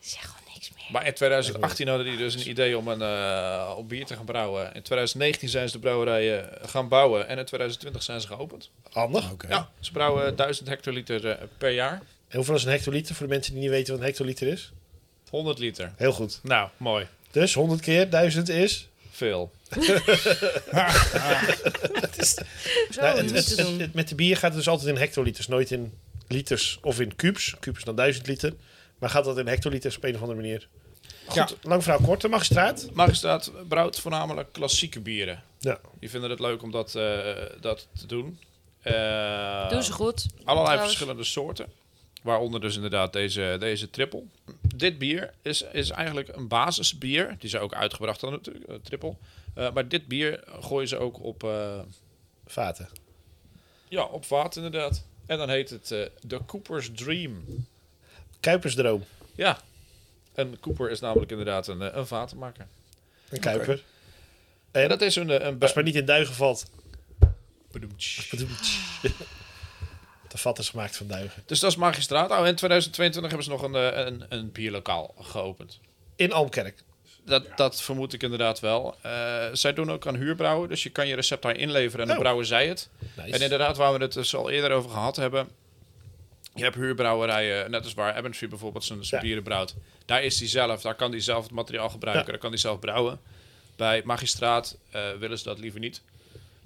S3: zeg gewoon niks meer.
S2: Maar in 2018 hadden die dus een idee om een eh, om bier te gaan brouwen. In 2019 zijn ze de brouwerijen eh, gaan bouwen. En in 2020 zijn ze geopend.
S1: Handig.
S4: Oké.
S2: Ja, ze brouwen 1000 hectoliter eh, per jaar.
S1: En hoeveel is een hectoliter voor de mensen die niet weten wat een hectoliter is?
S2: 100 liter.
S1: Heel goed.
S2: Nou, mooi.
S1: Dus 100 keer 1000 is.
S2: Veel.
S3: Zo
S1: Nou,
S3: niet
S1: het, het-
S3: Oh, te doen.
S1: het- het- met de bier gaat het dus altijd in hectoliters, nooit in liters of in kubus. Kubus is dan 1000 liter. Maar gaat dat in hectoliters op een of andere manier?
S4: Ja.
S1: Goed, lang verhaal kort, de magistraat.
S2: Magistraat brouwt voornamelijk klassieke bieren.
S1: Ja.
S2: Die vinden het leuk om dat, eh, dat te doen. Eh,
S3: Doen ze goed.
S2: Allerlei
S3: Trouwens.
S2: verschillende soorten. Waaronder dus inderdaad deze, deze triple. Dit bier is, is eigenlijk een basisbier. Die zijn ook uitgebracht dan natuurlijk, eh, triple. Eh, maar dit bier gooien ze ook op, eh,
S1: Vaten.
S2: ja, op vaat inderdaad. En dan heet het eh de Cooper's Dream.
S1: Kuipersdroom.
S2: Ja. En Cooper is namelijk inderdaad een, eh, een vatenmaker.
S1: Een kuiper.
S2: En dat is een, eh, een
S1: Als het maar niet in duigen valt.
S2: Bedoemtsch.
S1: De vat is gemaakt van duigen.
S2: Dus dat is magistraat. Oh, in 2022 hebben ze nog een, eh, een, een bierlokaal geopend.
S1: In Almkerk.
S2: Dat, dat vermoed ik inderdaad wel. Eh, zij doen ook aan huurbrouwen, dus je kan je recept daar inleveren en dan
S1: Oh.
S2: brouwen zij het.
S1: Nice.
S2: En inderdaad, waar we het dus al eerder over gehad hebben. Je hebt huurbrouwerijen, net als waar Abbotsfree bijvoorbeeld zijn, zijn
S1: Ja.
S2: bieren brouwt. Daar is die zelf, daar kan die zelf het materiaal gebruiken,
S1: Ja.
S2: daar kan die zelf brouwen. Bij magistraat eh, willen ze dat liever niet.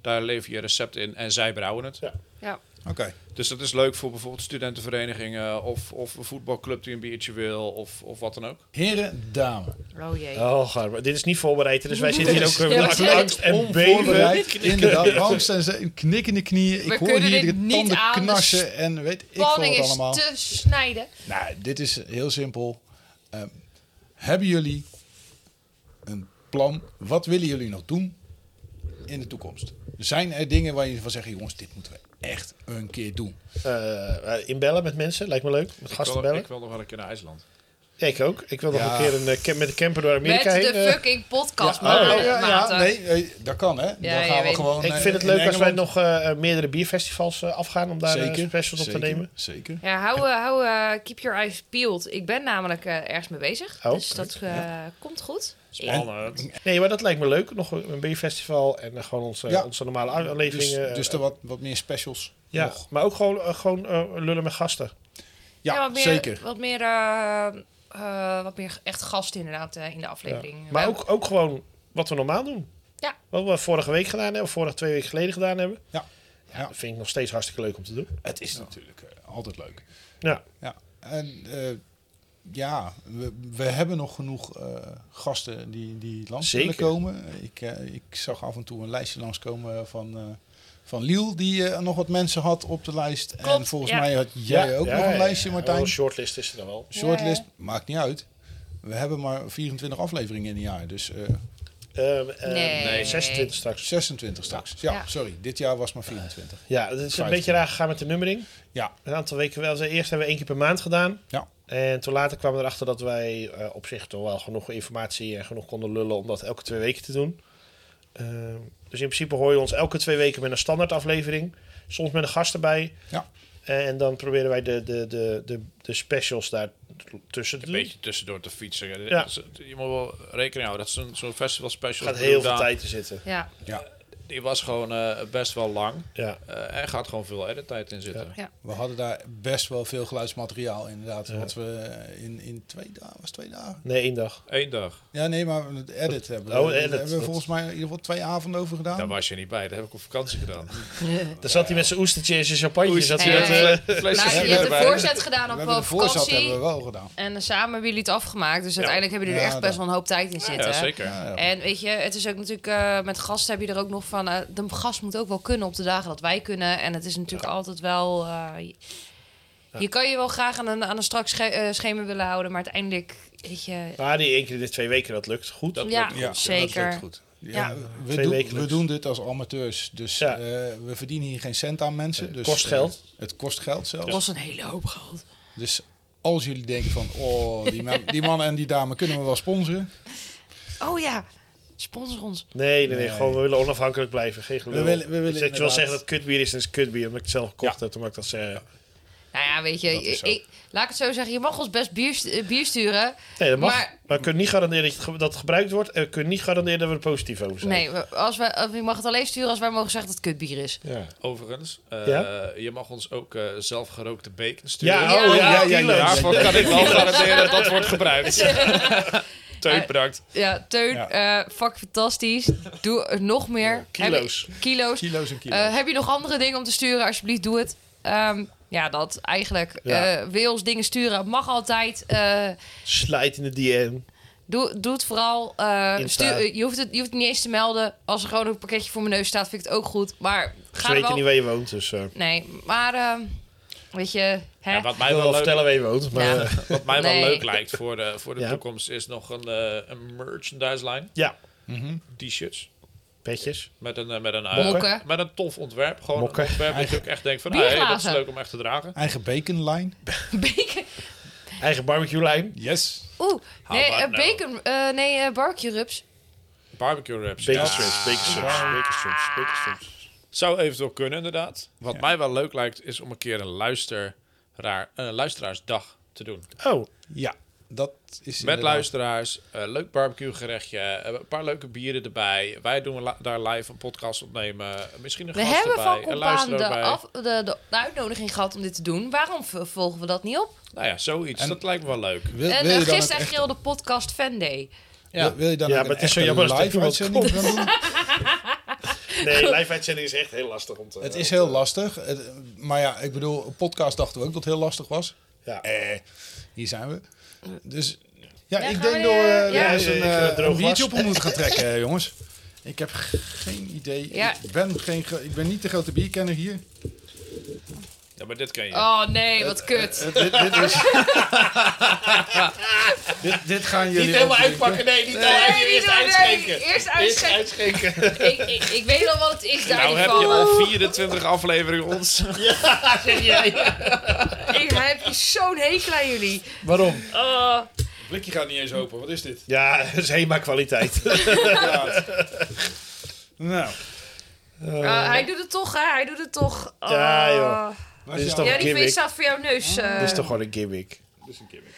S2: Daar lever je recept in en zij brouwen het.
S1: Ja.
S3: Ja.
S4: Oké.
S2: Dus dat is leuk voor bijvoorbeeld studentenverenigingen of, of een voetbalclub die een biertje wil of, of wat dan ook.
S4: Heren, dames.
S3: Oh jee.
S1: Oh, gaar, maar dit is niet voorbereid, dus wij zitten hier ook
S3: Ja,
S1: eh,
S3: we
S1: met
S3: zijn
S1: angst en beven.
S4: Onvoorbereid, inderdaad. Angst en ze- een knik in de knieën. Ik
S3: We
S4: hoor
S3: kunnen
S4: hier
S3: dit
S4: de
S3: niet
S4: tanden
S3: aan, de
S4: knarsen en weet ik veel
S3: Spanning
S4: wat
S3: is
S4: allemaal.
S3: te snijden.
S4: Nou, dit is heel simpel. Ehm, hebben jullie een plan? Wat willen jullie nog doen in de toekomst? Zijn er dingen waar je van zegt, jongens, dit moeten we echt een keer doen?
S1: Eh, inbellen met mensen, lijkt me leuk. Met gasten
S2: ik, wil,
S1: bellen.
S2: ik wil nog wel een keer naar IJsland.
S1: Ja, ik ook. Ik wil nog
S4: Ja.
S1: een keer een, eh, cam- met de camper door
S3: Met
S1: Amerika heen.
S3: de
S1: eh.
S3: fucking podcast
S1: Ja, oh,
S3: maken.
S4: nee, nee, eh, dat kan hè.
S3: Ja,
S4: Dan
S3: je
S4: gaan we
S3: weet-
S4: gewoon.
S1: ik
S4: eh,
S1: vind het
S4: in
S1: leuk als wij
S4: Engeland-
S1: nog eh, eh, meerdere bierfestivals eh, afgaan om daar eh, specials op te
S4: zeker,
S1: nemen.
S4: Zeker.
S3: Ja, hou, eh, hou eh, keep your eyes peeled. Ik ben namelijk eh, ergens mee bezig.
S1: Oh,
S3: dus dat eh, komt goed. Ik-
S2: Spannend.
S1: Nee, maar dat lijkt me leuk. Nog een bierfestival en eh, gewoon onze,
S4: Ja.
S1: onze normale afleveringen.
S4: Dus,
S1: eh,
S4: dus er wat, wat meer specials.
S1: ja.
S4: nog.
S1: Maar ook gewoon, eh, gewoon eh, lullen met gasten.
S4: Ja,
S3: wat meer,
S4: zeker.
S3: Wat meer, eh, eh, wat meer echt gast inderdaad eh, in de aflevering.
S1: Maar
S3: Wij-
S1: ook, ook gewoon wat we normaal doen.
S3: Ja.
S1: Wat we vorige week gedaan hebben, of vorige twee weken geleden gedaan hebben.
S4: Ja. Ja.
S1: Dat vind ik nog steeds hartstikke leuk om te doen.
S4: Het is natuurlijk eh, altijd leuk.
S1: Ja.
S4: Ja, en eh, ja, we, we hebben nog genoeg eh, gasten die, die langs
S1: Zeker.
S4: willen komen. Ik, eh, ik zag af en toe een lijstje langskomen van, eh van Liel, die eh, nog wat mensen had op de lijst. en
S3: Klopt,
S4: volgens
S3: ja.
S4: mij had jij ook nog een lijstje, Martijn.
S1: Een shortlist is er dan wel.
S4: Shortlist,
S3: Ja.
S4: maakt niet uit. We hebben maar 24 afleveringen in een jaar, dus eh,
S1: Ehm, ehm,
S3: Nee. Nee.
S1: 26 straks.
S4: 26 straks. Ja,
S3: Ja.
S4: sorry, dit jaar was maar 24.
S1: Ja, het is een
S4: 15.
S1: beetje raar gegaan met de nummering.
S4: Ja,
S1: Een aantal weken wel. Eerst hebben we één keer per maand gedaan.
S4: ja.
S1: En toen later kwamen we erachter dat wij eh, op zich toch wel genoeg informatie en genoeg konden lullen om dat elke twee weken te doen. Ehm, dus in principe hoor je ons elke twee weken met een standaard aflevering. Soms met een gast erbij.
S4: Ja.
S1: Eh, En dan proberen wij de, de, de, de, de specials daar tussen te
S2: Een
S1: doen.
S2: beetje tussendoor te fietsen.
S1: Hm?
S2: Eh,
S1: Ja.
S2: Ze- Je moet wel rekening houden. Dat is zo'n zo'n festival special.
S1: gaat
S2: Ik bedoel,
S1: heel veel
S2: Daan,
S1: tijd in zitten.
S3: Ja,
S2: Die was gewoon eh, best wel lang.
S1: Ja.
S2: Eh, en gaat gewoon veel edit-tijd in zitten.
S4: We hadden daar best wel veel geluidsmateriaal inderdaad. Wat we in, in twee dagen, was twee dagen?
S1: Nee, één dag.
S2: Eén dag.
S4: Ja, nee, maar het edit hebben we.
S1: Oh,
S4: Daar
S1: edit,
S4: hebben we
S1: dat-
S4: volgens mij in ieder geval twee avonden over gedaan.
S2: Daar was je niet bij. Dat heb ik op vakantie gedaan.
S1: Daar zat hij met zijn oestertje en zijn champagne. Zat hij
S3: Oestertje.
S1: dat,
S3: Hey.
S1: eh,
S2: Vlees-
S3: Nou, je
S4: Ja,
S3: hebt
S4: we
S3: de
S4: hebben-
S3: voorzet gedaan
S4: we
S3: op
S4: hebben
S3: eh,
S4: de voorzet
S3: vakantie.
S4: hebben we wel gedaan.
S3: En eh, samen hebben jullie het afgemaakt. Dus uiteindelijk hebben jullie er
S4: Ja,
S3: echt best
S4: dat-
S3: wel een hoop tijd in zitten.
S2: Ja, zeker.
S4: Ja, ja.
S3: En weet je, het is ook natuurlijk eh, met gasten heb je er ook nog van. eh, de gast moet ook wel kunnen op de dagen dat wij kunnen. En het is natuurlijk altijd wel. eh, je- Je kan je wel graag aan een, aan een strak sche- eh, schema willen houden, maar uiteindelijk, weet je.
S1: Maar eh, Ah, die één keer in de twee weken, dat lukt goed.
S3: ja,
S4: ja, dat
S3: zeker.
S4: lukt goed. Ja,
S3: Ja.
S4: we,
S1: Twee
S4: doen,
S1: wekelijks.
S4: we doen dit als amateurs, dus
S1: Ja.
S4: eh, we verdienen hier geen cent aan mensen. Dus,
S1: kost
S4: eh,
S1: geld.
S4: het kost geld zelfs.
S3: Het was een hele hoop geld.
S4: Dus als jullie denken van, oh, die, man, die man en die dame kunnen we wel sponsoren.
S3: Oh ja, sponsor ons.
S1: Nee, nee, nee,
S4: Nee.
S1: Gewoon, we willen onafhankelijk blijven. Geen gelul.
S4: We willen- we willen
S1: dus dat je wel
S4: inderdaad-
S1: zeggen dat het kutbier is, dan is het kutbier. Omdat ik het zelf gekocht heb, dan mag ik dat zeggen.
S3: Nou ja, weet je,
S4: Dat is zo.
S3: ik, laat ik het zo zeggen, je mag ons best bier, st- eh, bier sturen.
S1: Nee, dat mag. Maar,
S3: Maar-
S1: we kunnen niet garanderen dat, je het ge- dat het gebruikt wordt. En we kunnen niet garanderen dat we er positief over zijn.
S3: Nee, we- als wij, of je mag het alleen sturen als wij mogen zeggen dat het kutbier is.
S1: Ja.
S2: Overigens, eh,
S1: Ja?
S2: je mag ons ook zelf zelfgerookte bacon sturen.
S1: Ja, oh, ja,
S3: Ja,
S4: ja, ja,
S1: kilo's.
S4: ja.
S2: Daarvoor kan ik wel garanderen dat dat wordt gebruikt. Teun,
S3: Eh,
S2: bedankt.
S3: Ja, Teun,
S4: Ja.
S3: eh, fuck fantastisch. Doe er nog meer.
S1: kilo's.
S3: Heb je- kilo's.
S4: Kilo's en kilo's.
S3: Eh, heb je nog andere dingen om te sturen? Alsjeblieft, doe het. Ehm, ja, dat eigenlijk.
S1: Ja.
S3: Eh, wil je ons dingen sturen? Mag altijd. Eh,
S1: Slijt in de DM.
S3: doe, doe het vooral. Eh,
S1: Insta.
S3: stuur, eh, je, hoeft het, je hoeft het niet eens te melden. Als er gewoon een pakketje voor mijn neus staat, vind ik het ook goed. Maar
S1: Ze
S3: ga er
S1: weten
S3: wel...
S1: niet waar je woont, dus... eh,
S3: Nee, maar ehm, weet je... Hè?
S2: Ja, wat
S1: ik
S2: mij
S1: wil
S2: wel
S1: wel
S2: leuk
S1: Oh, vertellen waar je woont, maar...
S3: Ja.
S1: eh,
S2: Wat mij
S3: Nee.
S2: wel leuk lijkt voor de, voor de
S1: Ja.
S2: toekomst is nog een, eh, een merchandise lijn.
S1: ja,
S2: T-shirts.
S1: petjes.
S2: Met een, eh, met, een, eh,
S3: Mokken.
S2: met een tof ontwerp. Gewoon
S1: Mokken.
S2: een ontwerp dat je ook echt denkt van...
S3: Bierglazen.
S2: hey, dat is leuk om echt te dragen.
S4: Eigen baconlijn.
S3: Bacon.
S1: Eigen barbecue-lijn.
S4: Yes.
S3: Oeh,
S2: How
S3: nee,
S2: about
S3: eh,
S2: now?
S3: bacon... eh, nee, eh, barbecue rubs.
S2: Barbecue wraps.
S1: Bacon
S2: Ja.
S1: strips, bacon strips, bacon strips, bacon strips.
S2: Zou eventueel kunnen, inderdaad. Wat mij wel leuk lijkt, is om een keer een, luisteraar, een luisteraarsdag te doen.
S1: Oh,
S4: Ja, dat is
S2: Met
S4: inderdaad-
S2: luisteraars, eh, leuk barbecue gerechtje, een paar leuke bieren erbij. Wij doen la- daar live een podcast opnemen. Misschien een
S3: We
S2: gast
S3: hebben
S2: erbij,
S3: van
S2: een
S3: Compaan
S2: luisteraar
S3: de,
S2: erbij.
S3: af- de, de, de uitnodiging gehad om dit te doen. Waarom v- volgen we dat niet op?
S2: Nou ja, zoiets.
S4: En-
S2: dat lijkt me wel leuk.
S4: Wil,
S3: en
S4: wil
S3: eh,
S4: je dan ook
S3: gisteren
S4: echt-
S3: grilde podcast Fan Day.
S4: wil- wil je dan
S1: Ja,
S4: ook
S1: maar
S4: een
S1: het is zo
S4: echte
S1: jammer als er
S4: live
S1: niemand
S4: uitzending gaan doen?
S1: nee, live-uitzending is echt heel lastig om te...
S4: Het is heel lastig. Het- maar ja, ik bedoel, een podcast dachten we ook dat het heel lastig was.
S1: Ja.
S4: Eh, hier zijn we. Dus
S3: Ja,
S4: ja, ik
S3: gaan
S4: denk
S3: we
S4: door
S3: weer-
S4: eh,
S3: ja.
S4: daar eens
S1: Ik,
S4: een,
S1: eh,
S4: eh,
S1: droog
S4: een biertje
S1: was.
S4: op moeten gaan trekken, eh, jongens. Ik heb g- geen idee.
S3: Ja.
S4: Ik, ben geen, gro- ik ben niet de grote bierkenner hier.
S2: Ja, maar dit kan je.
S3: Oh nee, wat kut.
S4: Eh, dit, dit, is... dit, dit gaan jullie... overdenken.
S2: nee, niet
S3: Nee, niet doen, nee. Eerst uitschenken. Ik, ik, ik weet al wat het is daar
S2: Nou
S3: in
S2: heb
S3: ieder
S2: je
S3: geval.
S2: al 24 afleveringen ons.
S3: Ik heb zo'n hekel aan jullie.
S1: Waarom?
S3: Oh,
S4: Het blikje gaat niet eens open. Wat is dit?
S1: Ja, dat is HEMA-kwaliteit.
S4: Nou,
S3: ah, hij doet het toch, hè? Hij doet het toch. Oh.
S1: Oh. Ja, joh.
S4: dat
S1: Dit is
S4: is
S1: toch-
S4: dan...
S3: Ja, die
S1: Gimmick.
S3: feest staat voor jouw neus. eh.
S1: Dit is toch gewoon een gimmick.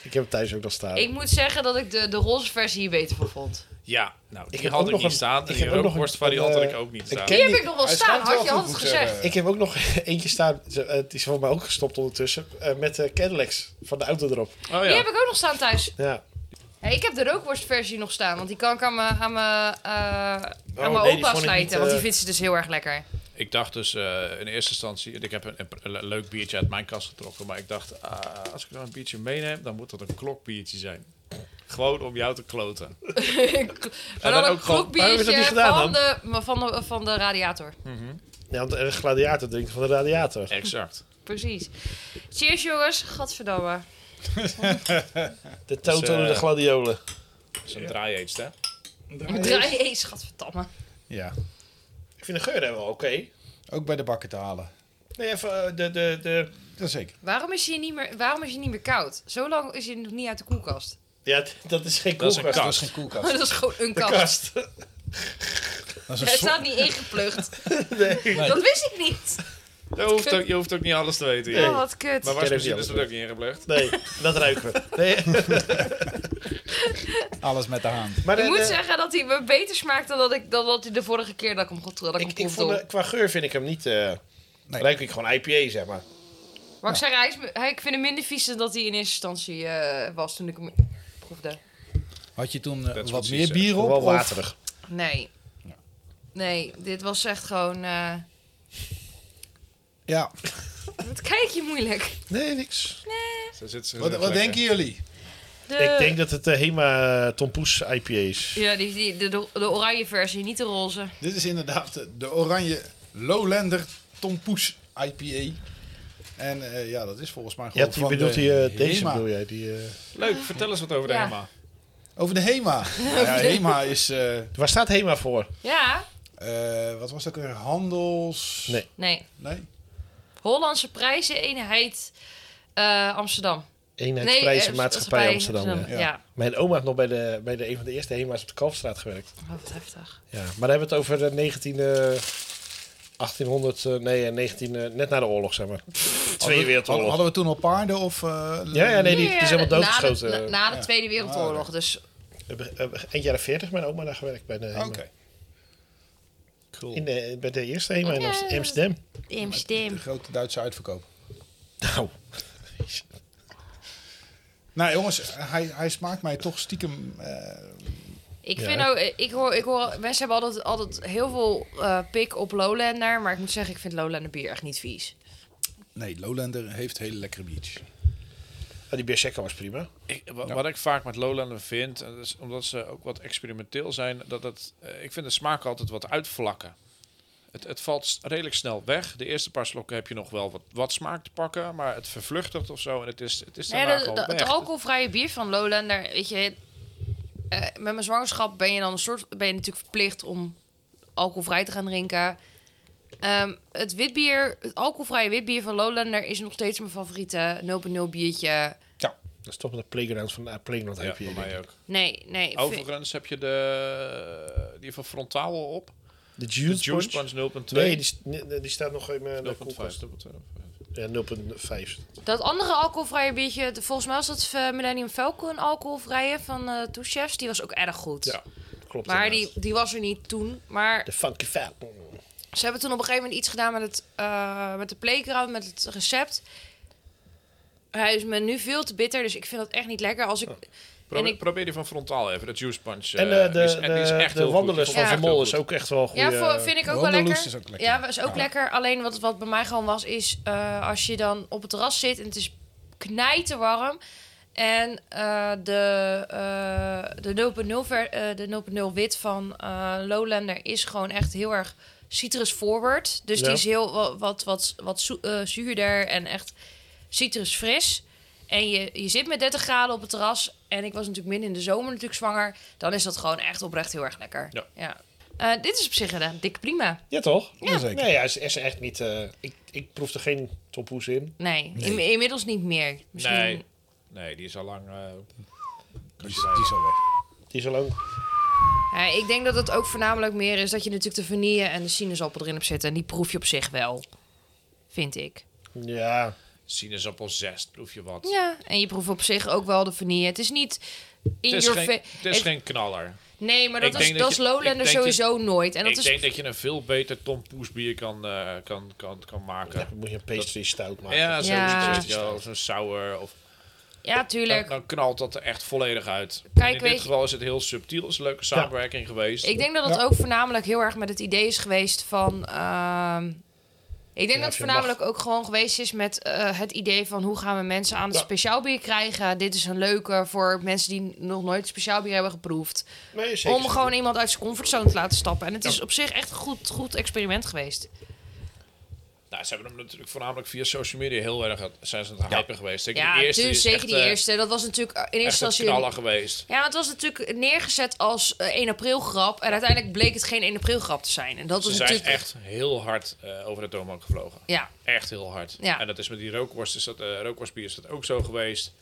S1: Ik heb het thuis ook nog staan.
S3: Ik moet zeggen dat ik de, de roze versie hier beter voor vond.
S2: Ja, nou, die
S1: heb ook
S2: had ik
S1: nog
S2: niet
S1: een-
S2: staan.
S1: ik
S2: En
S1: heb
S2: die
S1: ook nog een-
S2: rookworstvariant had
S1: een,
S2: ik ook niet
S1: een
S2: staan.
S1: ken-
S3: Die
S1: die-
S3: heb ik nog wel
S4: Hij
S3: staan,
S4: schijnt wel
S3: had je
S4: goed,
S3: altijd
S4: moet ik zeggen.
S3: gezegd.
S1: Ik heb ook nog eentje staan. ze- eh, Het is volgens mij ook gestopt ondertussen. eh, Met de Cadillacs van de auto erop.
S2: Oh
S3: Die
S2: ja.
S3: heb ik ook nog staan thuis.
S1: Ja.
S3: Hé, ik heb de rookworstversie nog staan, want die kan ik aan mijn aan mijn, eh, aan
S1: Oh,
S3: mijn
S1: nee, die
S3: opa
S1: vond ik
S3: slijten.
S1: niet, eh,
S3: Want die vindt ze dus heel erg lekker.
S2: Ik dacht dus eh, in eerste instantie, ik heb een, een- een le- leuk biertje uit mijn kast getrokken, maar ik dacht, ah, als ik nou een biertje meeneem, dan moet dat een klokbiertje zijn. Gewoon om jou te kloten.
S3: maar
S2: dan
S3: dan een
S2: ook gewoon-
S1: waarom heb je dat
S3: klokbiertje
S1: niet gedaan
S3: van
S1: dan?
S3: de, maar van, de, van de radiator.
S1: Ja, want een gladiator drinken van de radiator.
S2: Exact.
S3: Precies. Cheers jongens, gadverdamme.
S1: De Toto en
S2: eh,
S1: de gladiolen.
S2: Dat is een draai hè?
S3: Draai eens, gadverdamme.
S4: Ja,
S1: Ik vind de geur daar wel oké.
S4: ook bij de bakken te halen.
S1: Nee, even eh, de, de, de...
S4: Jazeker.
S3: Waarom is je niet meer, waarom is je niet meer koud? Zo lang is je nog niet uit de koelkast.
S1: Ja, d- dat is geen
S2: Dat is een
S1: koelkast.
S4: Dat
S2: kast.
S4: is geen koelkast.
S3: dat is gewoon een
S1: De
S3: kast.
S1: kast.
S4: Dat is een
S3: Hij
S4: soort-
S3: staat niet ingeplucht.
S1: Nee.
S3: Dat wist ik niet.
S2: Je hoeft, ook, je hoeft ook niet alles te weten. hier.
S1: Nee.
S3: Oh, wat kut.
S2: Maar
S1: ken ook niet
S2: wasmachine is
S1: alles.
S2: er ook niet ingeplugd.
S1: Nee, dat ruiken we. Nee,
S4: Alles met de haan.
S1: maar
S3: Ik
S1: eh,
S3: moet
S1: eh,
S3: zeggen dat hij me beter smaakt dan dat, ik, dan dat hij de vorige keer dat ik hem goed dat ik,
S1: ik,
S3: hem
S1: ik
S3: proefde.
S1: vond, eh, qua geur vind ik hem niet... eh
S4: Nee.
S1: Ruik ik gewoon IPA, zeg maar.
S3: Maar ik zeg, hij is, me- hij, ik vind hem minder vies dan dat hij in eerste instantie eh, was toen ik hem proefde.
S4: Had je toen eh,
S2: Dat is
S4: wat
S2: precies,
S4: meer
S2: eh,
S4: bier op?
S1: Wel
S4: of-
S1: waterig.
S3: Nee. Nee, dit was echt gewoon... eh
S4: Ja.
S3: wat kijk je moeilijk?
S1: Nee, niks.
S2: Zo zit ze
S4: Wat, wat denken jullie?
S3: De,
S1: Ik denk dat het de Hema eh, Tom Poes IPA is.
S3: Ja, die, die, de, de, de oranje versie, niet de roze.
S4: Dit is inderdaad de, de oranje Lowlander Tom Poes IPA. En eh, ja, dat is volgens mij
S1: Ja,
S4: gewoon
S1: die
S4: van
S1: bedoelt
S4: de
S1: die, eh, deze
S4: Hema.
S1: bedoel jij? Die, eh,
S2: Leuk, vertel eens wat over de
S3: Ja.
S2: HEMA.
S4: Over de HEMA. Nou ja, HEMA is, eh,
S1: waar staat Hema voor?
S3: Ja,
S4: eh, wat was dat ook weer? Handels...
S1: Nee.
S3: nee.
S4: Nee?
S3: Hollandse prijzen, eenheid eh, Amsterdam.
S1: Eenheidsprijzen
S3: eh,
S1: Maatschappij Amsterdam. ja.
S3: Ja.
S4: ja.
S1: Mijn oma heeft nog bij, de, bij de, een van de eerste Hema's op de Kalfstraat gewerkt.
S3: Oh, wat heftig.
S1: Ja, maar dan hebben we het over de 19... eh, 1800, eh, nee, eh, 19, eh, net na de oorlog, zeg maar. Tweede
S4: Hadden,
S1: Wereldoorlog.
S4: hadden we toen al paarden of... eh,
S1: Ja, ja, nee, die, die is helemaal doodgeschoten.
S3: Na de, na- na de
S4: Ja.
S3: Tweede Wereldoorlog, dus
S1: Eh, be- eh, Eind jaren 40 mijn oma daar gewerkt bij de Hema.
S4: Oké. Cool.
S1: In de, bij de eerste Hema in Amst-
S3: Ja.
S1: Amsterdam.
S4: De
S3: Amsterdam.
S4: grote Duitse uitverkoop.
S1: Nou,
S4: Nou jongens, hij, hij smaakt mij toch stiekem... eh,
S3: Ik
S1: Ja.
S3: vind ook, ik hoor, ik hoor, mensen hebben altijd, altijd heel veel eh, pik op Lowlander, maar ik moet zeggen, ik vind Lowlander bier echt niet vies.
S4: nee, Lowlander heeft hele lekkere biertjes.
S1: ah, die Beersekka was prima.
S2: Ik- wa- Wat ik vaak met Lowlander vind, en dat is omdat ze ook wat experimenteel zijn, dat het, eh, ik vind de smaak altijd wat uitvlakken. Het, het valt s- redelijk snel weg. De eerste paar slokken heb je nog wel wat, wat smaak te pakken, maar het vervluchtigt of zo. En het is, het is
S3: Nee,
S2: daarna
S3: de-
S2: gewoon
S3: de- het
S2: weg.
S3: alcoholvrije bier van Lowlander, weet je, eh, met mijn zwangerschap ben je dan een soort, ben je natuurlijk verplicht om alcoholvrij te gaan drinken. Ehm, het witbier, het alcoholvrije witbier van Lowlander is nog steeds mijn favoriete 0.0 biertje.
S1: Dat is toch de playground van de eh, Playground
S2: Ja,
S1: IPA.
S2: voor mij ook.
S3: Nee, nee. ik vind-
S2: Overigens heb je de, die van Frontaal al op.
S1: De
S2: De
S1: Juice,
S2: Juice Punch
S1: Punch?
S2: 0.2.
S1: Nee, die, st- nee, nee, die staat nog in mijn eh,
S2: 0.5.
S1: koelkast.
S2: 0.2.
S1: Ja, 0.5.
S3: Dat andere alcoholvrije biertje, de- volgens mij was dat eh, Millennium Falcon alcoholvrije van eh Two Chefs. Die was ook erg goed.
S1: Ja, klopt.
S3: maar die,
S1: inderdaad.
S3: die was er niet toen. Maar
S1: De Funky Fat.
S3: ze hebben toen op een gegeven moment iets gedaan met, het, eh, met de playground, met het recept. Hij is me nu veel te bitter, dus ik vind dat echt niet lekker. Als
S1: Oh.
S3: ik, en
S2: Probeer,
S3: ik
S2: probeer die van Frontaal even, de Juice Punch. eh,
S1: En eh,
S2: die is-
S1: de,
S2: en die is echt
S1: de, de
S2: heel goed. Die
S1: Wanderlust
S2: vond
S1: van
S2: ik
S1: Van
S2: echt
S1: Mol
S2: heel
S1: is
S2: goed.
S1: ook echt wel eh, goed.
S3: ja, voor, vind ik ook wel
S4: Wanderlust
S3: lekker.
S4: is ook lekker.
S3: Ja, is ook
S4: Ja.
S3: lekker. Alleen wat, wat bij mij gewoon was, is eh, als je dan op het terras zit en het is knijterwarm. En eh, de, eh, de 0.0 ver- eh, de 0.0 wit van eh, Lowlander is gewoon echt heel erg citrus forward. Dus
S1: Ja.
S3: die is heel wa- wat, wat, wat zo- eh, zuurder en echt citrusfris. En je, je zit met 30 graden op het terras. En ik was natuurlijk midden in de zomer natuurlijk zwanger. Dan is dat gewoon echt oprecht heel erg lekker.
S2: Ja.
S3: Eh, dit is op zich een dikke prima.
S1: Ja, toch?
S4: Jazeker.
S1: Nee, hij is, is echt niet... eh, ik, ik proef er geen tompoes in.
S3: Nee, in- inmiddels niet meer. Misschien...
S2: Nee. nee, die is al lang... eh,
S4: Die, is- die is al weg.
S1: Die is al lang...
S3: Ja, ik denk dat het ook voornamelijk meer is dat je natuurlijk de vanille en de sinaasappel erin hebt zitten. En die proef je op zich wel, vind ik.
S1: Ja,
S2: sinaasappel zest, proef je wat.
S3: Ja, en je proeft op zich ook wel de vanille. Het is niet in
S2: Het is,
S3: your
S2: geen,
S3: face.
S2: het is geen knaller.
S3: Nee, maar
S2: Ik
S3: dat is,
S2: denk
S3: dat
S2: dat
S3: is
S2: je- ik
S3: Lowlander
S2: denk dat-
S3: sowieso nooit. En dat
S2: ik
S3: is
S2: denk dat je een veel beter Tom Poes bier kan, eh, kan, kan, kan maken.
S1: dan moet je een pastry stout maken.
S2: Ja, zo'n
S3: Ja.
S2: ja. zo'n sour. Of,
S3: Ja,
S2: dan,
S3: tuurlijk.
S2: dan knalt dat er echt volledig uit. En
S3: Kijk,
S2: in
S3: weet
S2: dit
S3: je-
S2: geval is het heel subtiel. Het is een leuke samenwerking geweest.
S3: Ik denk dat het
S4: Ja.
S3: ook voornamelijk heel erg met het idee is geweest van. ehm, ik denk
S1: Ja,
S3: dat het
S1: je
S3: voornamelijk ook gewoon geweest is met eh, het idee van hoe gaan we mensen aan het
S1: Ja.
S3: speciaal bier krijgen. Dit is een leuke voor mensen die nog nooit speciaal bier hebben geproefd.
S1: Nee, zeker.
S3: Om gewoon iemand uit zijn comfortzone te laten stappen. En het is op zich echt een goed, goed experiment geweest.
S2: Nou, ze hebben hem natuurlijk voornamelijk via social media heel erg aan- zijn ze aan het hypen geweest. Zeker
S3: Ja,
S2: die eerste
S3: dus
S2: is
S3: zeker
S2: echt,
S3: die
S2: eh,
S3: eerste. Dat was natuurlijk eh, in
S2: echt
S3: eerste
S2: een
S3: instantie.
S2: knaller geweest.
S3: Ja, het was natuurlijk neergezet als eh, 1 april grap. En uiteindelijk bleek het geen 1 april grap te zijn. En dat
S2: Ze
S3: was
S2: zijn
S3: natuurlijk.
S2: echt heel hard eh, over de toonbank gevlogen.
S3: Ja,
S2: Echt heel hard.
S3: Ja.
S2: En dat is met die rookworst, is dat, eh rookworstbier is dat ook zo geweest.